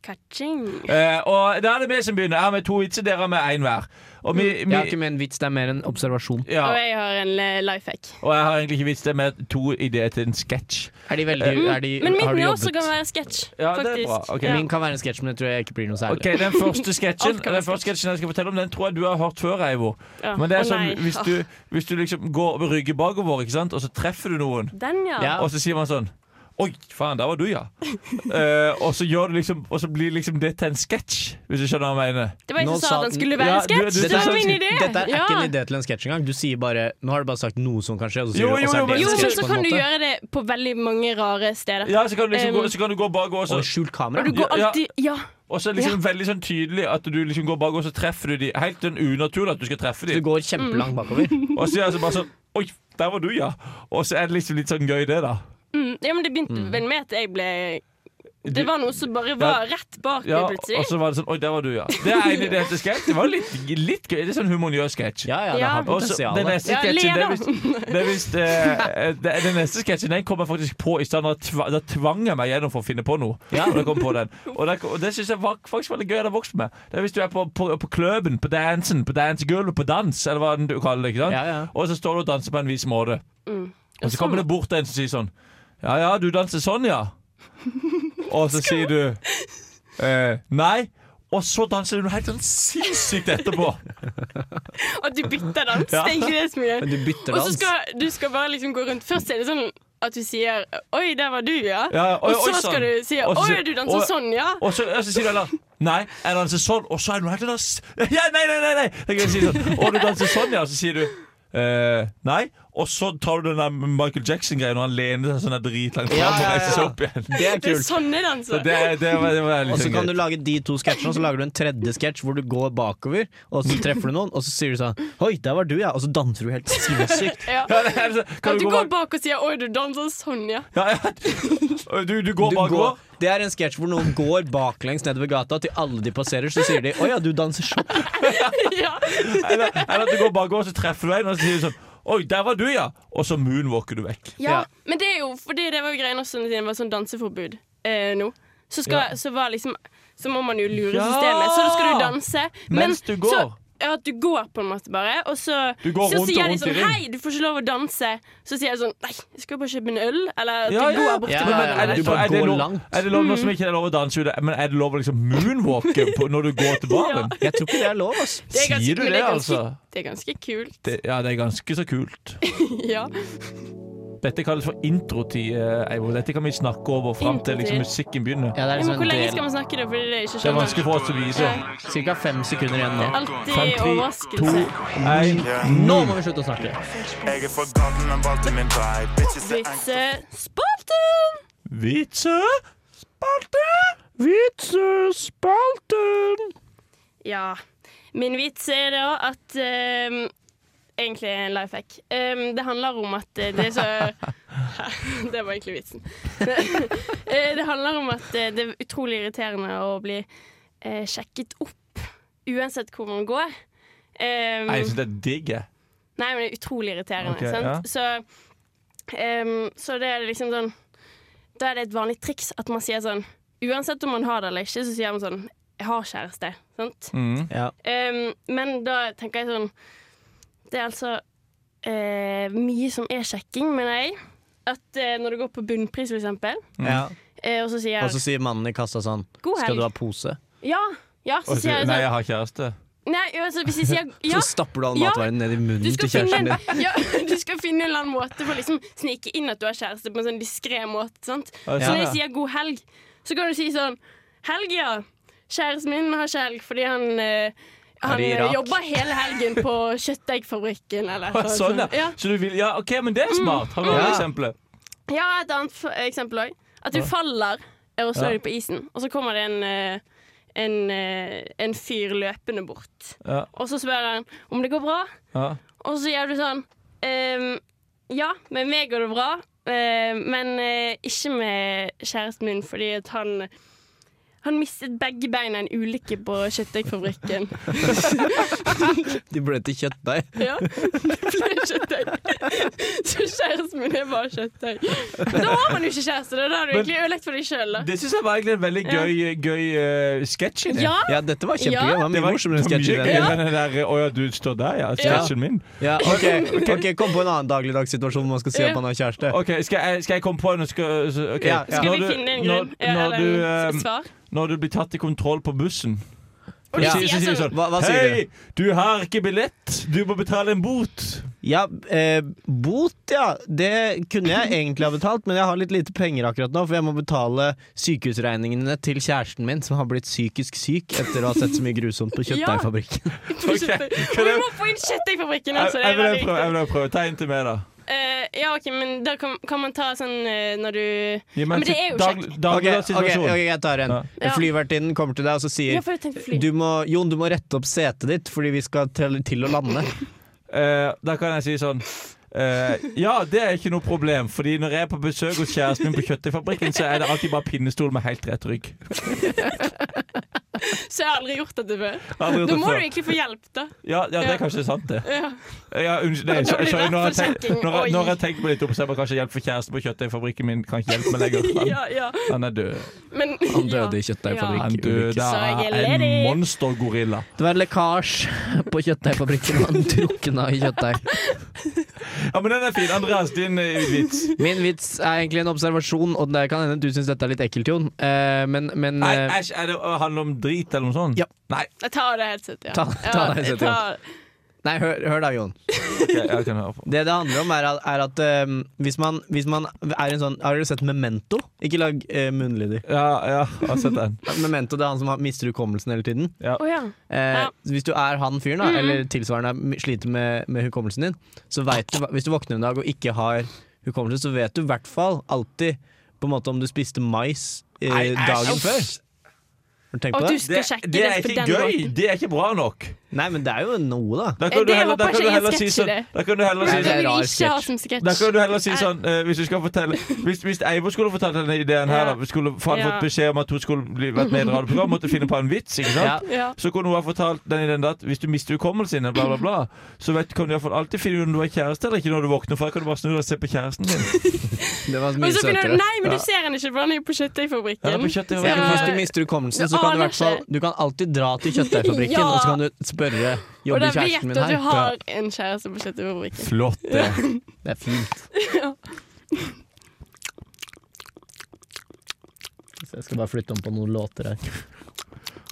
D: Kaching.
A: Eh, og da er det vi som begynner. Her med to vitser, dere har med én hver. Og, vi,
F: Jeg har ikke
A: vi,
F: med en vits, det er mer en observasjon.
A: ja,
G: Og jeg har en
D: eh,
G: life hack.
A: og jeg har egentlig ikke vits, det er mer to ideer til en sketsj.
F: Er de veldig er de,
G: Mm, Men
F: Har
G: mitt
F: du
G: nå også
F: jobbet?
G: kan være sketsj,
A: Ja, det er
G: faktisk.
A: bra. Ok.
G: Ja.
F: Min kan være en sketsj, men jeg tror jeg ikke blir noe særlig.
A: Ok, Den første sketsjen
G: Alt kan
A: Den
G: være
A: første sketsjen jeg skal fortelle om Den tror jeg du har hørt før, Eivor.
G: Ja.
A: Men det
G: Å,
A: er sånn
G: nei.
A: hvis du, hvis du liksom går og rygger bakover, ikke sant? og så treffer du noen,
G: Den, ja.
F: Ja.
A: og så sier man sånn Oi, faen, der var du, ja. Eh, og, så gjør du liksom, og så blir liksom det til en sketsj, hvis du skjønner hva jeg mener.
G: Det var jeg
B: Nå
G: som
D: sånn
G: sa
B: sa
G: at den
B: den-
G: skulle være
A: Ja,
G: en sketsj.
A: du-
G: Det
A: du- du-
G: var min idé.
B: Dette er
G: ja.
B: ikke en idé til en sketsj engang. Du sier bare Nå har du bare sagt noe som kan skje, og så
A: Jo,
B: sier du og så
A: jo,
B: er det
A: jo,
B: en
G: Jo, men
B: sketsj
G: så
B: på en
G: kan du
B: måte.
G: gjøre det på veldig mange rare steder.
A: Ja, så kan du
G: Um,
A: liksom gå, så kan du gå bak og så
B: Og skjult kamera.
G: Og du går
A: Ja, ja.
G: alltid Ja,
A: Og så er det liksom veldig sånn tydelig at du liksom går bak, og så treffer du de Helt sånn unaturlig at du skal treffe de
B: Du går
G: Mm.
B: kjempelangt bakover.
A: Og så er det altså bare sånn Oi, der var du, ja. Og så er det liksom litt sånn gøy, det, da.
D: Mm, ja, men det begynte vel med at jeg ble Det var noe som bare var rett bak
A: Ja,
D: meg plutselig.
A: og så var det sånn Oi, der var du, ja. Det er egentlig det heter sketsj. Det var litt, litt gøy. Det er sånn humorøs sketsj.
B: Ja, ja, det
D: Ja.
B: har
A: Og så-
B: potensial.
A: Den neste
D: Ja,
A: sketsjen
D: le
A: det
D: da.
A: er visst- det er visst, eh, det er- Den neste sketsjen Den kom jeg faktisk på i stad. Da tva- da tvang jeg meg gjennom for å finne på noe.
B: Ja.
A: Og, jeg kom på den. og, det, og det synes jeg var, faktisk var litt gøy. Jeg hadde vokst med Det er Hvis du er på, på, på kløben, på dansen, på dansegulvet, på dans, eller hva du kaller det. ikke sant?
B: Ja, ja.
A: Og så står du og danser på en vis måte. Og så kommer det bort en som sier sånn Ja ja, du danser sånn, ja. Og så sier du eh, nei. Og så danser du helt sånn sinnssykt etterpå.
D: At du bytter dans. Det er ikke det som er greia.
B: Men du bytter
D: Og så
B: dans.
D: skal du skal bare liksom gå rundt. Først er det sånn at du sier 'oi, der var du', ja.
A: Ja, ja, oi,
D: og
A: oi,
D: så
A: sann.
D: skal du si
A: Og så
D: 'oi,
A: sier-
D: du danser
A: og-
D: sånn', ja.
A: Og så, og så sier du heller Nei, jeg danser sånn, og så er du helt annet ja, Nei, nei, nei, nei Da kan jeg si sånn, Og du danser sånn, ja, så sier du eh, Nei, og så tar du den der Michael Jackson-greien Og han lener seg sånn der dritlangt frem
B: Ja, ja,
A: Og
B: ja.
A: reiser seg opp igjen
B: Det er
D: Det er
B: kult.
D: sånne danser.
A: Så det, det var, det var
B: Og
A: litt
B: så
A: sånn
B: kan
A: gøy.
B: du lage de to sketsjene, og så lager du en tredje sketsj hvor du går bakover, og så treffer du noen, og så sier du sånn Oi, der var du, ja. Og så danser du helt sinnssykt.
D: ja.
A: ja, det er så-
D: At
A: Kan
D: du
A: du gå
D: går
A: bak
D: bak og sier 'oi, du danser sånn', ja.
A: ja, ja. Du, du går
B: Du
A: bak
B: går,
A: går.
B: det er en sketsj hvor noen går baklengs nedover gata, og til alle de passerer, så sier de Å ja, du danser sånn.
D: ja.
A: Eller, eller at du går bak går, og så treffer du en Og så sier du sånn Oi, der var du, ja Og så moonwalker du vekk
D: Ja, men det er jo fordi det var jo greia også siden det var sånn danseforbud eh, nå. Så, skal, så var liksom Så må man jo lure
A: Ja!
D: systemet. Så da skal du danse. men
A: Mens du går.
D: Så, ja, at du går på en måte bare, og så,
A: Du går
D: så
A: rundt og
D: sier de
A: rundt i
D: sånn
A: ring.
D: Hei, du får ikke lov å danse. Så sier jeg sånn Nei, jeg skal jo bare kjøpe en øl. Eller at
A: Ja, ja.
D: du går bort
B: Ja,
D: til
B: ja,
D: ja,
B: ja.
A: Men er det,
B: Du bare
A: er det
B: går
A: lov,
B: langt.
A: er det lov nå som ikke er lov å danse ute? Men er det lov å liksom moonwalke på, når du går til baren?
B: Jeg tror ikke det er lov, ass.
D: Det er ganske-
A: Sier du
D: men
A: det,
D: det er ganske-
A: altså?
D: Det er ganske kult.
A: Det, ja, det er ganske så kult.
D: Ja.
A: Dette kalles for introtid, eh, Eivor. Dette kan vi snakke over fram til liksom, musikken begynner.
B: Ja, det er
D: Men
B: liksom
D: hvor
B: en
D: lenge skal
B: del.
D: man snakke, da? Fordi det er
A: sånn Det
D: ikke
A: er
D: skjønner.
A: vanskelig for oss å vise.
B: Cirka fem sekunder igjen nå.
D: Alltid overraskelse.
A: Nei,
B: Nå må vi slutte å snakke.
I: Jeg er fra gaten, men valgte min vei. Bitches er angst.
D: Vitsespalten!
A: vitsespalte! Vitsespalten!
D: Mm. Ja. Min vits er da at ehm, Egentlig en life hack. Ehm, det handler om at eh, det er så Det var egentlig vitsen. Eh, det handler om at eh, det er utrolig irriterende å bli eh, sjekket opp uansett hvor man går. Ehm,
A: Nei, jeg synes det er digg, jeg.
D: Nei, men det er utrolig irriterende.
A: Ok,
D: sant? Så, ehm, så det er liksom sånn Da er det et vanlig triks at man sier sånn Uansett om man har det eller ikke, så sier man sånn Jeg har kjæreste. Sant?
B: Ja.
D: Ehm, men da tenker jeg sånn Det er altså eh, mye som er sjekking, mener jeg. At eh, når du går på bunnpris, for eksempel,
B: Ja.
D: eh, og så sier
B: Og så sier mannen i kassa sånn
D: God helg.
B: Altså, Skal du ha pose?
D: Ja, ja, så
A: Og
D: sier
A: så-
D: jeg
A: Nei, jeg
D: sånn
A: har kjæreste.
D: Nei, altså, hvis jeg sier ja
B: Så stapper du all
D: Ja.
B: matvarene ned i
D: Du
B: munnen
D: skal,
B: til
D: finne en,
B: kjæresten din.
D: ja, du skal finne en eller annen måte for å liksom snike inn at du har kjæreste på en sånn diskré måte. Sant?
A: Ja,
D: Så
A: ja.
D: når jeg sier 'god helg', så kan du si sånn 'Helg, ja. Kjæresten min har ikke helg fordi han eh, han
B: Er det i
D: eh,
B: Irak?
D: jobber hele helgen på kjøttdeigfabrikken, eller
A: Å,
D: noe
A: Sånn,
D: sånt.
A: ja.
D: Ja. Mm.
A: Så du vil Ja, OK, men det er smart. Har du noe
B: Ja.
A: eksempel?
D: ja, et annet f eksempel òg. At du faller og slår deg på isen, og så kommer det en eh, en, eh, en fyr løpende bort.
A: Ja.
D: Og så spør han om det går bra.
A: Ja.
D: Og så gjør du sånn ehm, Ja, med meg går det bra, eh, men eh, ikke med kjæresten min, fordi at han han mistet begge beina i en ulykke på kjøttdeigfabrikken.
B: De ble til kjøttdeig.
D: Ja, det ble kjøttdeig. Så kjæresten min er bare kjøttdeig. Men da har man jo ikke kjæreste, da. Da har du egentlig ødelagt for deg sjøl, da.
A: Det syns jeg var egentlig en veldig gøy, gøy eh, sketsj. i det.
D: Ja,
B: Ja, dette var kjempegøy.
D: Ja.
B: Det var mye morsommere enn sketsjen.
A: sketsjen.
B: din.
A: Ja. Den der, Å ja, du står der, ja. Sketsjen min.
B: Ja, ok, ok, Kom på en annen dagligdagssituasjon hvor man skal se om man har kjæreste.
A: Ok, Skal jeg, skal jeg komme på en skal, så- ok.
B: Ja, ja.
D: skal
A: Når
D: vi
A: du-
D: finne en
A: når-
D: grunn? Ja,
A: når
D: eller
A: du,
D: en
A: eh,
D: s- svar?
A: Når du blir tatt i kontroll på bussen
D: Og du
B: ja.
A: sier- så
D: sier
A: sier du
D: sånn
B: Hva, hva sier
A: Hei, du har ikke billett! Du må betale en bot!
B: du? Ja, eh, Bot, ja. Det kunne jeg egentlig ha betalt, men jeg har litt lite penger akkurat nå, for jeg må betale sykehusregningene til kjæresten min, som har blitt psykisk syk etter å ha sett så mye grusomt på
D: Ja.
B: kjøttdeigfabrikken.
D: Og vi må få inn kjøttdeigfabrikken,
A: Jeg,
D: altså. Det
A: jeg
D: er
A: vil
D: veldig
A: prøve. jeg
D: viktig.
A: vil prøve Tegn til meg, da.
D: Eh, ja, OK, men da kan, kan man ta sånn eh, når du ja, Men
A: men
D: det er jo
A: dag-
D: kjekt.
B: Ok,
A: dagligdags
B: ok,
A: situasjon.
B: ok, jeg tar en.
D: Ja.
B: Flyvertinnen kommer til deg og så sier
D: Ja, for jeg tenkte fly.
B: du må, Jon, du må rette opp setet ditt fordi vi skal til, til å lande.
A: Eh, da kan jeg si sånn eh, Ja, det er ikke noe problem, Fordi når jeg er på besøk hos kjæresten min på kjøttdeigfabrikken, så er det alltid bare pinnestol med helt rett rygg.
D: Så jeg har aldri gjort dette før.
A: Aldri gjort
D: Da
A: det
D: må
A: før.
D: du egentlig få hjelp, da.
A: Ja, ja, det er kanskje sant, det.
D: Ja.
A: Ja, unnskyld, nei,
D: Da
A: sorry,
D: blir det
A: sorry, når, jeg
D: rett
A: tenk,
D: på kjøkken.
A: når, jeg-
D: Oi.
A: når jeg tenker meg litt om, så er det kanskje hjelp for kjæresten på kjøttdeigfabrikken min. Kan ikke hjelpe meg lenger. Han,
D: Ja, ja.
A: han er død.
D: Men,
B: Han døde
D: ja.
B: i kjøttdeigfabrikken.
A: Han døde
D: Så
A: av
D: jeg er
A: en
D: ledig.
A: monstergorilla.
B: Det var en lekkasje på kjøttdeigfabrikken. og Han drukna i kjøttdeig.
A: Ja, men den er fin. Andreas, din eh, vits.
B: Min vits er egentlig en observasjon, og det kan hende du syns dette er litt ekkelt, Jon. Eh, men men
A: Nei,
B: eh,
A: æsj, er det å handle om drit eller noe sånt?
B: Ja.
A: Nei,
D: Jeg tar det helt sett, ja.
B: Ta- ta det headsetet, ja.
D: ja.
B: Nei, hør, hør da, Jon.
A: ok, jeg kan høre på.
B: Det det handler om, er at, er at eh, hvis, man, hvis man er en sånn Har dere sett Memento? Ikke lag eh, munnlyder.
A: Ja, ja, jeg har sett den.
B: Memento det er han som har- mister hukommelsen hele tiden.
D: Å, ja.
B: Eh,
D: Ja. Mm-hmm.
B: Hvis du er han fyren, da, eller tilsvarende m- sliter med, med hukommelsen din, så vet du hva- Hvis du våkner en dag og ikke har hukommelse, så vet du i hvert fall alltid på en måte om du spiste mais eh, dagen før. Har du tenkt på
D: Og du
B: det?
D: skal
A: Det,
D: sjekke
A: det
D: det,
A: er
D: på
A: ikke
D: den
A: gøy.
D: måten.
A: Det er ikke bra nok.
B: Nei, men det er jo noe, da.
A: Da
D: Eh,
A: kan du
D: det
A: heller, da kan
D: håper
A: du
D: ikke jeg er
A: heller si
D: sketsj i
A: sånn,
D: det.
A: da kan du heller si
D: Det
A: sånn
B: er
D: vil
B: rar
D: vi ikke ha
B: sketsj.
D: som sketsj.
A: da kan du heller si
D: Nei.
A: sånn eh, Hvis du skal fortelle Hvis, hvis Eivor skulle fortalt denne ideen her,
D: Ja.
A: da, skulle, for hadde
D: Ja.
A: fått beskjed om at hun skulle bli, vært med i et radioprogram, måtte finne på en vits, ikke sant?
B: Ja.
D: Ja.
A: Så kunne hun ha fortalt den ideen at hvis du mister hukommelsen din, bla, bla, bla, så vet, kan du i hvert fall alltid finne ut om du har kjæreste eller ikke når du våkner, for da kan du bare snu deg og se på kjæresten din.
B: Det var
D: Og
B: mye
D: så begynner du
B: søtere.
D: Nei, men du ser han ikke, for han er jo på kjøttdeigfabrikken.
A: Ja, på kjøttdeigfabrikken.
D: Så-
B: Hvis du mister hukommelsen, så
D: Jeg
B: kan du i
D: aner
B: hvert fall
D: ikke.
B: Du kan alltid dra til kjøttdeigfabrikken,
D: Ja.
B: og så kan du spørre
D: Og da
B: Jobber
D: vet
B: kjæresten
D: du
B: min
D: at
B: her?
D: du har en kjæreste på kjøttdeigfabrikken.
A: Flott, det.
B: Det er fint. Så jeg skal bare flytte om på noen låter her.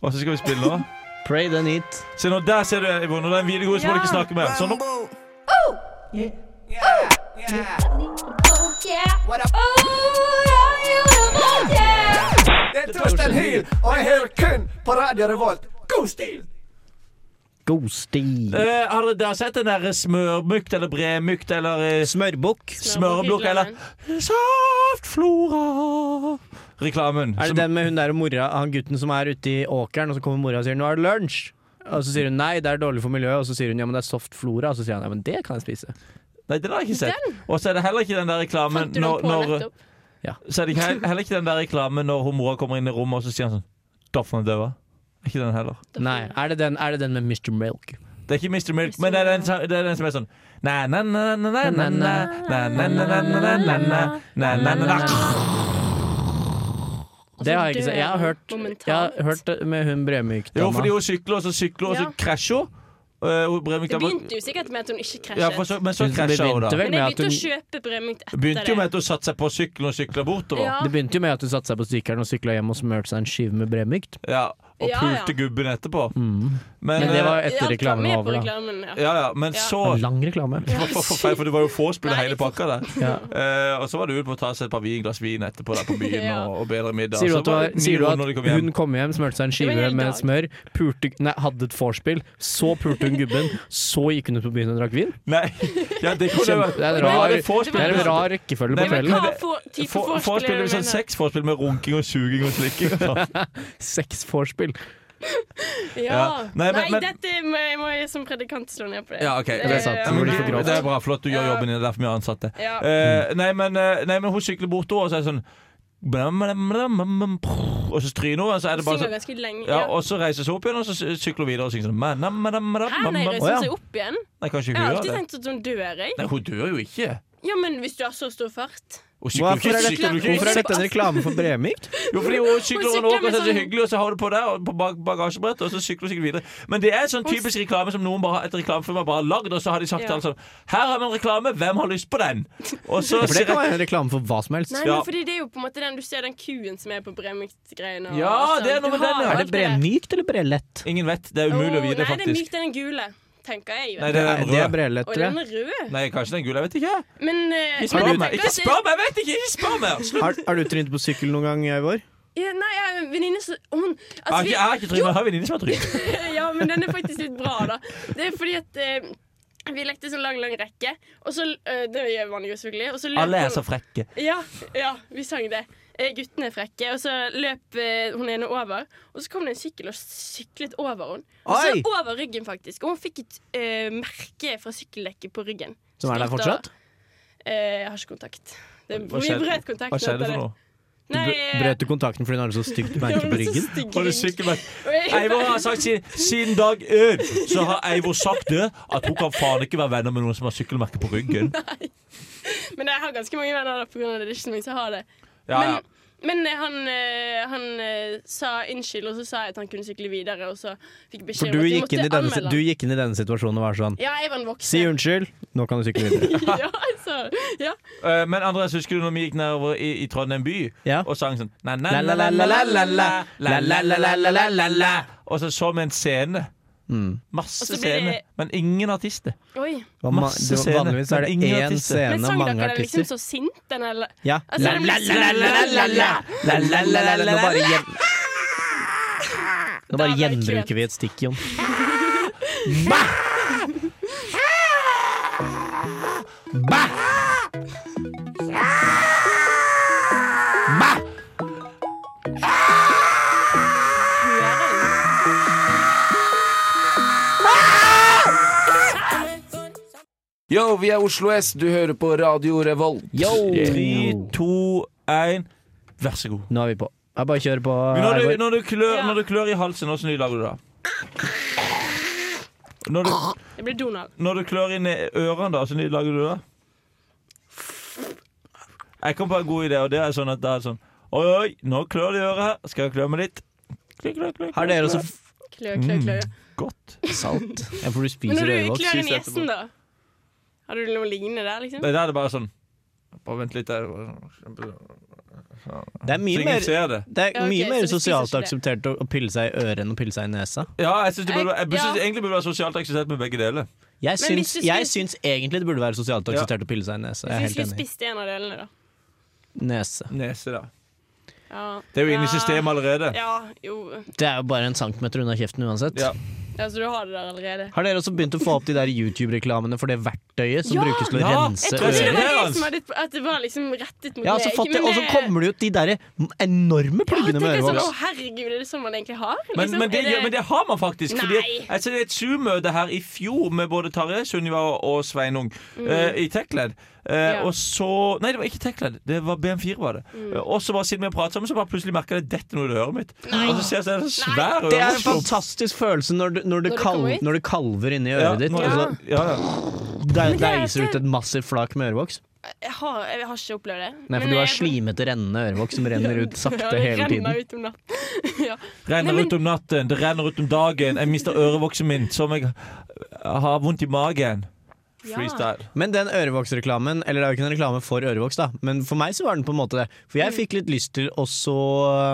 A: Og så skal vi spille nå.
B: Pray then eat.
A: Se nå, der ser du, Eivor. Når det er en videregående, så må du ikke snakke mer. Sånn, nå.
E: Oh,
H: Det er Torstein Hyl, og jeg hører kun på Radio Revolt. God stil!
B: Ghosty.
D: Øh,
A: Eh, har dere dere sett den der smørmukt eller bremykt eller eh,
B: Smørbukk.
A: smørblokk eller Saftflora? Reklamen.
B: Er
A: Som-
B: det den med hun der og mora, han gutten som er ute i åkeren, og så kommer mora og sier 'nå er det lunsj'? Og så sier hun nei, det er dårlig for miljøet, og så sier hun ja, men det er soft flora, og så sier han ja, men det kan jeg spise.
A: Nei, den har jeg ikke sett. Og så er det heller ikke den der reklamen
D: Fant du
A: når,
D: den på
A: når
D: nettopp?
A: Så er det ikke, heller ikke den der reklamen når hun mora kommer inn i rommet, og så sier han sånn Daffen er død, Er Ikke den heller.
B: Nei, er det den, er det den med Mr. Milk?
A: Det er ikke Mr. Milk, men det er den, som- det er den som er sånn Næ, næ, næ, næ, næ, næ, næ, næ, næ, næ, næ, næ, næ, næ, næ, næ, næ, næ.
B: Det har jeg ikke sett. Jeg har hørt,
D: Momentalt.
B: jeg har hørt det med hun
A: Jo, fordi
B: Bremyk-dama.
A: hun sykler, og så sykler hun, og så
D: Ja.
A: krasjer hun. Eh, hun. Bremyk-
D: Det begynte jo sikkert med at hun ikke
A: Ja, for
D: krasjet.
A: så, men så
B: Hun som
A: krasja hun, da.
B: begynte vel
D: Men
B: med
D: jeg
B: at
D: begynte å
B: hun
D: kjøpe brødmykt etter
A: Begynte jo med at hun satte seg på sykkelen og sykla bortover. Ja.
D: Ja.
B: Det begynte jo med at hun satte seg på sykkelen og sykla hjem og smurte seg en skive med Bremykt.
A: og
D: Ja,
A: pulte
D: ja.
A: gubben etterpå. Men,
B: Mm. Men det var
A: eh,
B: jo
D: Alt
B: etter
D: var
B: reklamen
D: med
B: var
D: på
B: over, da.
D: reklamen, ja.
A: ja, ja, men
D: Ja.
A: så
B: En lang reklame.
A: for, for, for, feil, for det var jo vorspielet
D: Nei,
A: hele pakka der.
B: Ja.
A: Eh, og så var det ut på å ta seg et par vin, glass vin etterpå der på byen
D: Ja.
A: og, og bedre middag.
B: Sier du
A: Så
B: at, det
A: var
B: var,
A: det
B: sier du
A: nyrom
B: at
A: når de kom hjem.
B: hun kom hjem, smurte seg en
D: Det var
B: skive
D: en hel
B: med
D: dag.
B: smør, purte, nei, hadde et vorspiel, så purte hun gubben, så gikk hun ut på byen og drakk vin?
A: Nei, ja, det kunne
B: Kjempe-
A: vært-
B: det er en
A: Men var
B: rar-
A: det vorspiel?
B: Det er en rar rekkefølge på
A: Nei, men
B: kvelden.
D: Hva
A: det-
D: for type
A: For-
D: vorspiel
A: Vorspiel
D: er
A: er
D: det
A: sånn
D: du
A: sexvorspiel med runking og suging og sånn. slikking. Ja.
B: Seks vorspiel.
D: mener? Ja.
A: Ja. Nei,
D: Nei,
A: men- men-
D: dette må jeg, må jeg som predikant slå ned på det.
A: Ja, ok.
D: Det er sant, det
A: men
D: blir for grovt.
A: det er bra, flott du gjør
D: Ja.
A: jobben din, det er derfor vi har ansatt deg.
D: Ja.
A: Eh, nei, men, eh, nei, men hun sykler bortover, og så er det sånn blam, blam, blam, blam, blam, prr, Og så stryner hun, og så er det bare
D: Synger
A: sånn
D: ganske lenge.
A: ja, Og så reiser hun seg opp igjen, og så sy- sykler hun videre og synger sånn "Ma, nam, ma, nam, ma, nam,
D: Hæ,
A: ma,
D: nei,
A: nam."
D: reiser
A: Å, ja.
D: hun seg opp igjen?
A: Nei, kanskje
D: Jeg
A: ikke
D: har
A: hun gjør
D: alltid
A: det.
D: tenkt at hun dør, jeg.
A: Nei, hun dør jo ikke.
D: Ja, men hvis du har så stor fart
A: Hun sykler
B: Hvorfor
A: jo
B: er
A: ikke.
B: dette,
A: Sykler jo ikke.
B: hvorfor er dette en reklame for Bremyk?
A: Jo, fordi hun sykler
D: Hun
A: over en åker, og så
D: sykler med
A: er det så
D: sånn-
A: hyggelig, og så har du på der og på bak bagasjebrettet, og så sykler hun sikkert videre. Men det er en sånn typisk reklame som noen bare, et reklamefirma bare har lagd, og så har de sagt
D: Ja.
A: til alle sånn Her har vi en reklame, hvem har lyst på den? Og så
B: For det kan være en reklame for hva som helst.
D: Nei,
A: Ja.
D: men fordi det er jo på en måte den du ser den kuen som er på Bremykt-greiene. og
A: Ja,
D: sånn.
A: det er noe
D: Du
A: med den,
D: har
A: ja. Er
D: alt
A: det
B: Bremykt eller brelett?
A: Ingen vet. Det er umulig å vite,
D: Åh, Nei, det er
A: faktisk.
D: mykt, det er den gule, tenker jeg.
A: Nei, det
D: Vet.
B: Det
A: er den
B: er
A: røde.
B: brelett,
D: Og
B: tror
D: den
B: jeg.
D: er rød.
A: Nei, kanskje den gule. Jeg vet ikke.
D: Men, eh,
A: Ikke
D: men
A: spør
D: jeg
A: meg!
D: tenker
A: Ikke
D: at det-
A: spør meg! Jeg vet ikke! Ikke spør meg! Slutt!
B: Har, har du trynt på sykkel noen gang, Eivor?
D: Ja, Nei, jeg har en venninne som hun-
A: Ah, Jeg har ikke-
D: altså,
A: jeg har ikke trynet. Jeg har venninne som har trynet.
D: vi- Ja, men den er faktisk litt bra, da. Det er fordi at eh, Vi lekte sånn lang, lang rekke, og så eh, Det gjør man jo selvfølgelig. Og så løp
A: Alle
D: hun-
A: er så frekke.
D: Ja, ja, vi sang det. Eh, guttene er frekke, og så løp eh, hun ene over. Og så kom det en sykkel og syklet over henne. Og så
B: Oi!
D: over ryggen, faktisk. Og hun fikk et eh, merke fra sykkeldekket på ryggen.
B: Som er der
D: Slitt og-
B: fortsatt?
D: Eh, jeg har ikke kontakt. Det,
A: Hva
D: vi
A: skjedde-
D: brøt kontakten.
A: Hva skjedde for noe?
D: Nei,
B: Br- Brøt du kontakten fordi hun hadde så stygt merke på ryggen?
A: Har du sykkelmerke?
D: eh,
A: Eivor har sagt siden, siden dag én så har Eivor sagt det, at hun kan faen ikke være venner med noen som har sykkelmerke på ryggen.
D: Men jeg har ganske mange venner da, på grunn av det. Det er ikke så mange som har det.
A: Ja, ja.
D: Men, men eh, han, eh, han eh, sa unnskyld, og så sa jeg at han kunne sykle videre. Og så fikk jeg
B: For
D: beskjed
B: du
D: om at jeg
B: gikk, inn i
D: måtte
B: denne, si-
D: anmelde
B: du
D: han.
B: gikk inn i denne situasjonen og var sånn
D: Ja, jeg var en voksen.
B: Si unnskyld, nå kan du sykle videre.
D: ja, altså, ja.
A: Eh, Men Andreas, husker du når vi gikk nedover i, i Trondheim by
B: Ja.
A: og sang sånn na, na, la, la, la, la, la, la, la, la, la, la, la, la.
B: Det
A: Og så så vi en scene.
B: Mm.
A: Masse
D: Og så blir det-
A: scener, men ingen artister.
D: Oi.
B: var ma-
A: Masse
B: det var-
A: scener,
B: Vanligvis er
A: men
B: det
A: ingen
B: én
A: artister.
B: scene,
D: Men sang dere
B: mange
D: den liksom
B: artister.
D: så sint, den eller?
B: Ja.
D: Altså, den ble
B: Nå bare, gjen... Nå bare
D: Der ble det
B: gjenbruker vi et stikk, Jon.
J: Yo, vi er Oslo S. Du hører på Radio Revolt.
B: Oh.
A: Tre, to, én, vær så god.
B: Nå er vi på. Jeg bare kjører på.
A: Men Når du,
B: Eivor.
A: når du, klør,
D: Ja.
A: når du klør i halsen, åssen lyd lager du da? Når du,
D: Det ble Donald.
A: når du klør inn i ørene, da, åssen lyd lager du da? Jeg kom på en god idé, og det er sånn at det er sånn Oi, oi, nå klør det i øret her. Skal jeg klø meg litt? Klø, klø, klø, klø,
B: Har dere også
A: klø.
D: Klø, klø,
B: Mm.
D: klø.
A: Godt.
B: salt? Ja, for du
D: Men
B: spiser
D: når du
B: ørevoks.
D: klør inn i
A: syns etterpå.
D: gjesten, da? Har du noe lignende der, liksom?
A: Det der er det bare sånn Bare vent litt. Der. Så
B: Det er mye
A: ingen
B: mer,
A: ser det.
B: det er
D: Ja, ok,
B: mye
D: så
B: mer
D: vi spiser
B: sosialt
D: ikke
B: akseptert å å pille seg i ørene enn å pille seg i nesa.
A: Ja, jeg syns det burde, jeg
D: Jeg-
A: synes
D: ja.
A: egentlig burde være sosialt akseptert med begge deler.
B: Jeg
D: Men hvis
B: syns,
D: du
B: jeg
D: spiser-
B: syns egentlig det burde være sosialt
A: Ja.
B: akseptert å pille seg i nesa. Jeg er
D: Hvis vi
B: helt
D: skulle
B: enig.
D: spist en av delene, da.
B: Nese.
A: Nese, da.
D: Ja.
A: Det er jo inne i
D: Ja.
A: systemet allerede.
D: Ja, jo.
B: Det er jo bare en centimeter unna kjeften uansett.
A: Ja.
D: Ja, så du har det der allerede.
B: Har dere også begynt å få opp de der YouTube-reklamene for det verktøyet som
D: Ja!
B: brukes til å
A: Ja!
B: rense
D: Jeg trodde det
B: øret?
D: var
A: Her,
D: jeg
A: altså.
D: som hadde At det var liksom rettet mot
B: Ja,
D: meg.
B: så fatter jeg,
D: men,
B: Og så
D: eh,
B: kommer det ut de derre enorme
D: ja,
B: pluggene med
D: tenker jeg sånn,
B: ørevoks.
D: Å, herregud, er det sånn man egentlig har?
A: Men,
D: liksom?
A: men, det,
D: Er
A: gjør- men det har man faktisk. Fordi
D: Nei.
A: at- altså, det er et Zoom-møte her i fjor med både Tarjei, Sunniva og Sveinung eh, i Techland. Eh,
D: Mm. Ja. Mm.
A: Og så Nei, det var ikke Techland. Det var BM4. var det Eh, Og så bare siden vi pratet sammen, så bare plutselig merka jeg at dette er noe i øret mitt. Og så ser jeg så er det en svær
B: Det er en
A: øreslump.
B: fantastisk følelse når, du, når, det,
D: Når det
B: kal
D: kommer ut?
B: når det kalver inni
A: Ja,
B: øret ditt,
A: nå- sånn.
B: og så
A: ja, ja.
B: de-
D: det er
B: deiser
D: ikke-
B: ut et massivt flak med ørevoks.
D: Jeg har, jeg har ikke opplevd det.
B: Nei, for
D: Men
B: du har
D: jeg-
B: slimete, rennende ørevoks som renner ut
D: Ja,
B: sakte
D: det
B: hele tiden.
D: renner ut om natten. ja.
A: Renner
D: Nei, men-
A: ut om natten, det renner ut om dagen. Jeg mister ørevoksen min, som jeg har vondt i magen.
D: Ja.
A: Freestyle.
B: Men den ørevoksreklamen, eller det er jo ikke en reklame for ørevoks, da, men for meg så var den på en måte det. For
D: Mm.
B: jeg fikk litt lyst til også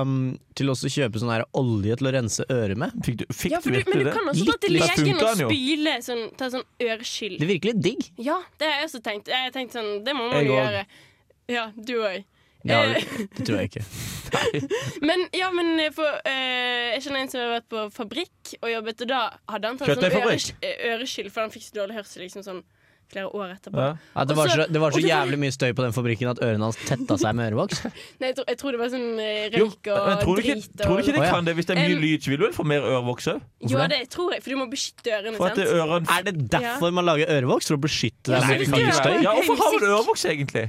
B: um, Til også kjøpe sånn her olje til å rense øret med.
A: Fikk du, fikk
D: Ja, for
A: du
D: du, men
A: virkelig
D: du
A: det?
D: kan også gå til
A: Litt. Der
D: legen
A: funker
D: og
A: den jo.
D: spyle sånn, ta sånn øreskyld.
B: Det virker litt digg.
D: Ja, det har jeg også tenkt. Jeg har tenkt sånn, det må man
A: Jeg
D: jo
A: også.
D: gjøre. Ja, du òg.
B: Det, har,
D: Eh.
B: det tror jeg ikke.
D: Men, ja, men for, eh, jeg kjenner en som har vært på fabrikk og jobbet, og da hadde han tatt sånn
A: Kjøttøyfabrikk?
D: øresky- eh, øreskyld, for han fikk så dårlig hørsel liksom sånn flere år etterpå.
A: Ja.
B: Ja, det, var
D: Og så-
B: så, det var
D: og
B: så
D: så får
B: jævlig mye støy på den fabrikken at ørene hans tetta seg med ørevoks.
D: Nei, jeg, tror, jeg tror det var sånn eh,
A: Jo,
D: røyk og
A: men tror du ikke,
D: drit og
A: tror du ikke det
B: Å, ja.
A: kan det? Hvis det er mye
D: Em,
A: lyd, så vil du vel få mer ørevoks òg?
D: Jo, det tror jeg, for du må beskytte ørene,
A: For at
D: sant?
A: det er ørene
B: Er det derfor man lager ørevoks? For å beskytte
D: Ja,
B: deg
D: så
B: mot
D: hvis
B: mye
D: du er-
B: støy?
A: Ja, hvorfor har du ørevoks, egentlig?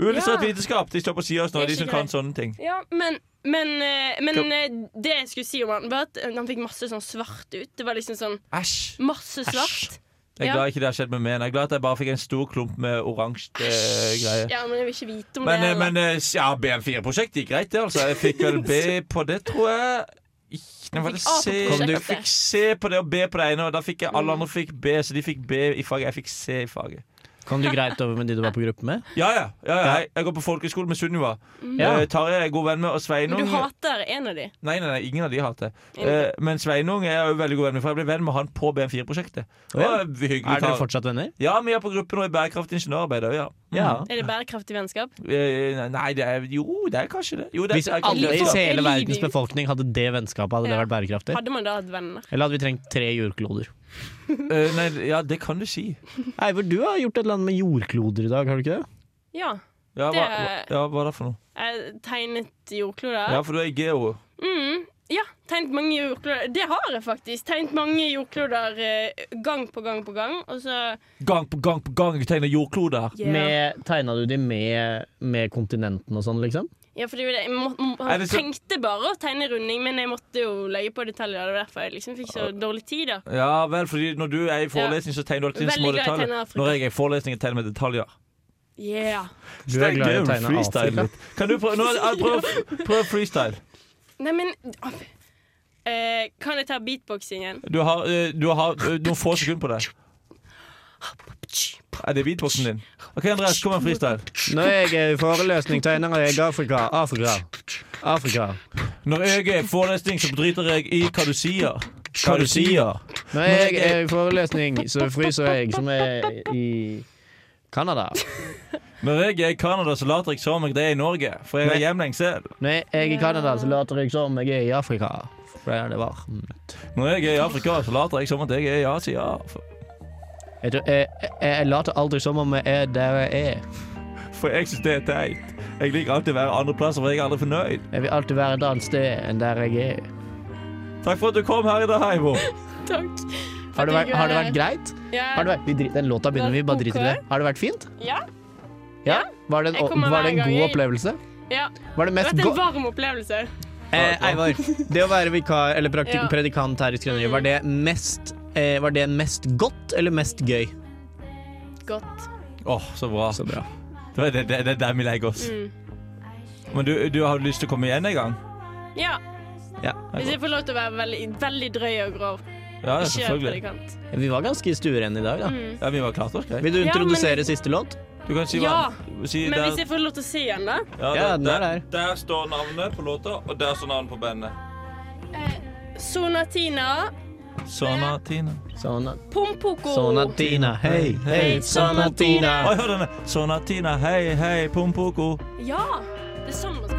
A: Uillustrert
D: Ja.
A: vitenskap. De står på sida av oss nå,
D: Det er
A: de som
D: ikke
A: kan
D: greit.
A: sånne ting.
D: Ja, men, men, eh, men eh, det jeg skulle si om han, var at han fikk masse sånn svart ut. Det var liksom sånn
A: Æsj.
D: masse svart.
A: Jeg er
D: Ja.
A: glad ikke det har skjedd med meg. Jeg er glad at jeg bare fikk en stor klump med oransje eh, greie.
D: Ja, men jeg vil ikke vite om
A: Men,
D: det.
A: eh, men eh, ja, BM4-prosjektet gikk greit, det, altså. Jeg fikk vel B på det, tror jeg. Ikk- Nei, var det
D: fikk A på
A: C?
D: prosjektet. Mm.
A: Jeg fikk C på det og B på det ene, og da fikk jeg alle andre fikk B, så de fikk B i faget. Jeg fikk C i faget.
B: Kom du greit over med de du var på gruppe med?
A: Ja, ja. ja, ja. Jeg, jeg går på folkehøyskole med Sunniva.
B: Ja.
A: Eh, Tarjei er jeg god venn med, og
D: eller. Mm. men
A: Sveinung
D: du hater en av de.
A: Nei, nei, nei, ingen av de hater jeg.
D: Ingen.
A: Eh, men Sveinung er jeg jo veldig god venn med, for jeg ble venn med han på BM4-prosjektet.
B: Å, ja.
A: Og hyggelig
B: Er dere
A: kar.
B: fortsatt venner?
A: Ja, vi er på gruppen nå i bærekraftig ingeniørarbeid òg, ja. Mm.
D: Er det bærekraftig vennskap?
A: Eh, Nei, det er Jo, det er kanskje det. Jo, det
B: Hvis
A: det er
B: alle i
D: liker-
A: det.
D: jeg
B: hele
D: liker-
B: verdens befolkning hadde det vennskapet, hadde det
D: Ja.
B: vært bærekraftig?
D: Hadde man da hatt venner?
B: Eller hadde vi trengt tre jordkloder?
A: Eh, nei, ja, det kan du si.
B: Eivor, du har gjort et eller annet med jordkloder i dag, har du ikke det?
D: Ja.
A: Ja, hva, hva,
D: Det-
A: ja, hva er det for noe?
D: Jeg tegnet jordkloder.
A: Ja, for du er i geo.
D: Mm, ja, tegnet mange jordkloder. Det har jeg faktisk. Tegnet mange jordkloder eh, gang på gang på gang. Og så
A: Gang på gang på gang tegner jordkloder.
D: Yeah.
B: Med, tegna du de med, med kontinentene og sånn, liksom?
D: Ja, fordi det, jeg må, må,
B: Er det så-
D: tenkte bare å tegne runding, men jeg måtte jo legge på detaljer. Det var derfor jeg liksom fikk så dårlig tid, da.
A: Ja vel, fordi når du er i forelesning, så tegner du alltid
D: Veldig
A: små
D: glad i å
A: detaljer.
D: tegne Afrika.
A: Når jeg er i forelesning, jeg tegner jeg med detaljer.
D: Yeah.
B: Du er glad i
A: Stein,
B: å
A: det
B: tegne
A: freestyle
B: Afrika.
A: litt. Kan du prøve, nå, jeg- prøv, prøv freestyle.
D: Nei, men å, eh, Kan jeg ta beatboxingen?
A: Du har, eh, du har eh, noen få sekunder på det. Er det beatboxen din? OK, Andreas, kom med freestyle.
B: Når jeg eh, er i foreløsning, tegner jeg Afrika. Afrika. Afrika.
A: Når jeg er i forelesning, så driter jeg i hva du sier. Hva
B: Hva
A: du
B: du
A: sier.
B: Når jeg eh, er i foreløsning, så fryser jeg, som er i Canada.
A: Når jeg er i Canada, så later jeg som jeg er i Norge, for jeg er hjemlengs selv.
B: Når jeg er i Canada, så later jeg som jeg er i Afrika. For der er det Mm. varmt.
A: Når jeg er i Afrika, så later jeg som at jeg er i Asia.
B: Jeg, tror- jeg, jeg, jeg later aldri som om jeg er der jeg er.
A: For jeg syns det er teit. Jeg liker alltid å være andreplasser, for jeg er aldri fornøyd.
B: Jeg vil alltid være et annet sted enn der jeg er.
A: Takk for at du kom her i dag, Heivo.
D: Takk.
B: Har det vært, har det vært greit?
D: Ja.
B: Har det vært, vi drit, den låta begynner vi bare driter i det. Har det vært fint?
D: Ja.
B: Ja? Var det
D: Jeg
B: en,
D: kommer
B: var det en
D: hver gang
B: god
D: jeg-
B: opplevelse?
D: ja.
B: Var det mest
D: Dette er
B: go-
D: en varm opplevelse.
B: Eh, Eivar, det å være vikar eller praktik-
D: Ja.
B: predikant her i Skrøneriet, var det mest eh, Var det mest godt eller mest gøy?
D: Godt.
A: Åh, så bra. Det er det, det, det er der vi legger oss.
D: Mm.
A: Men du, du har lyst til å komme igjen en gang?
D: Ja.
B: Ja.
D: Hvis jeg får lov til å være veldig, veldig drøy og grov.
A: Ja, ja,
D: Ikke
A: selvfølgelig.
D: predikant.
B: Vi var ganske i stueren i dag, da.
D: Mm.
A: Ja, vi var klart oss, greit.
B: Vil du
D: Ja,
B: introdusere siste låt?
A: Du kan si
D: Ja,
A: hva si
D: Men
A: der-
D: hvis jeg får lov til å si den, da?
A: ja,
B: Ja,
A: der,
B: den er
A: der, der står navnet på låta, og der står navnet på bandet.
D: Sonatina,
A: Sonatina.
B: Sona,
D: Pompoko.
B: Sonatina, hei, hei, Sonatina.
A: Oi, hør denne. Sonatina, hei, hei, pompoko.
D: Ja! Det er sånn man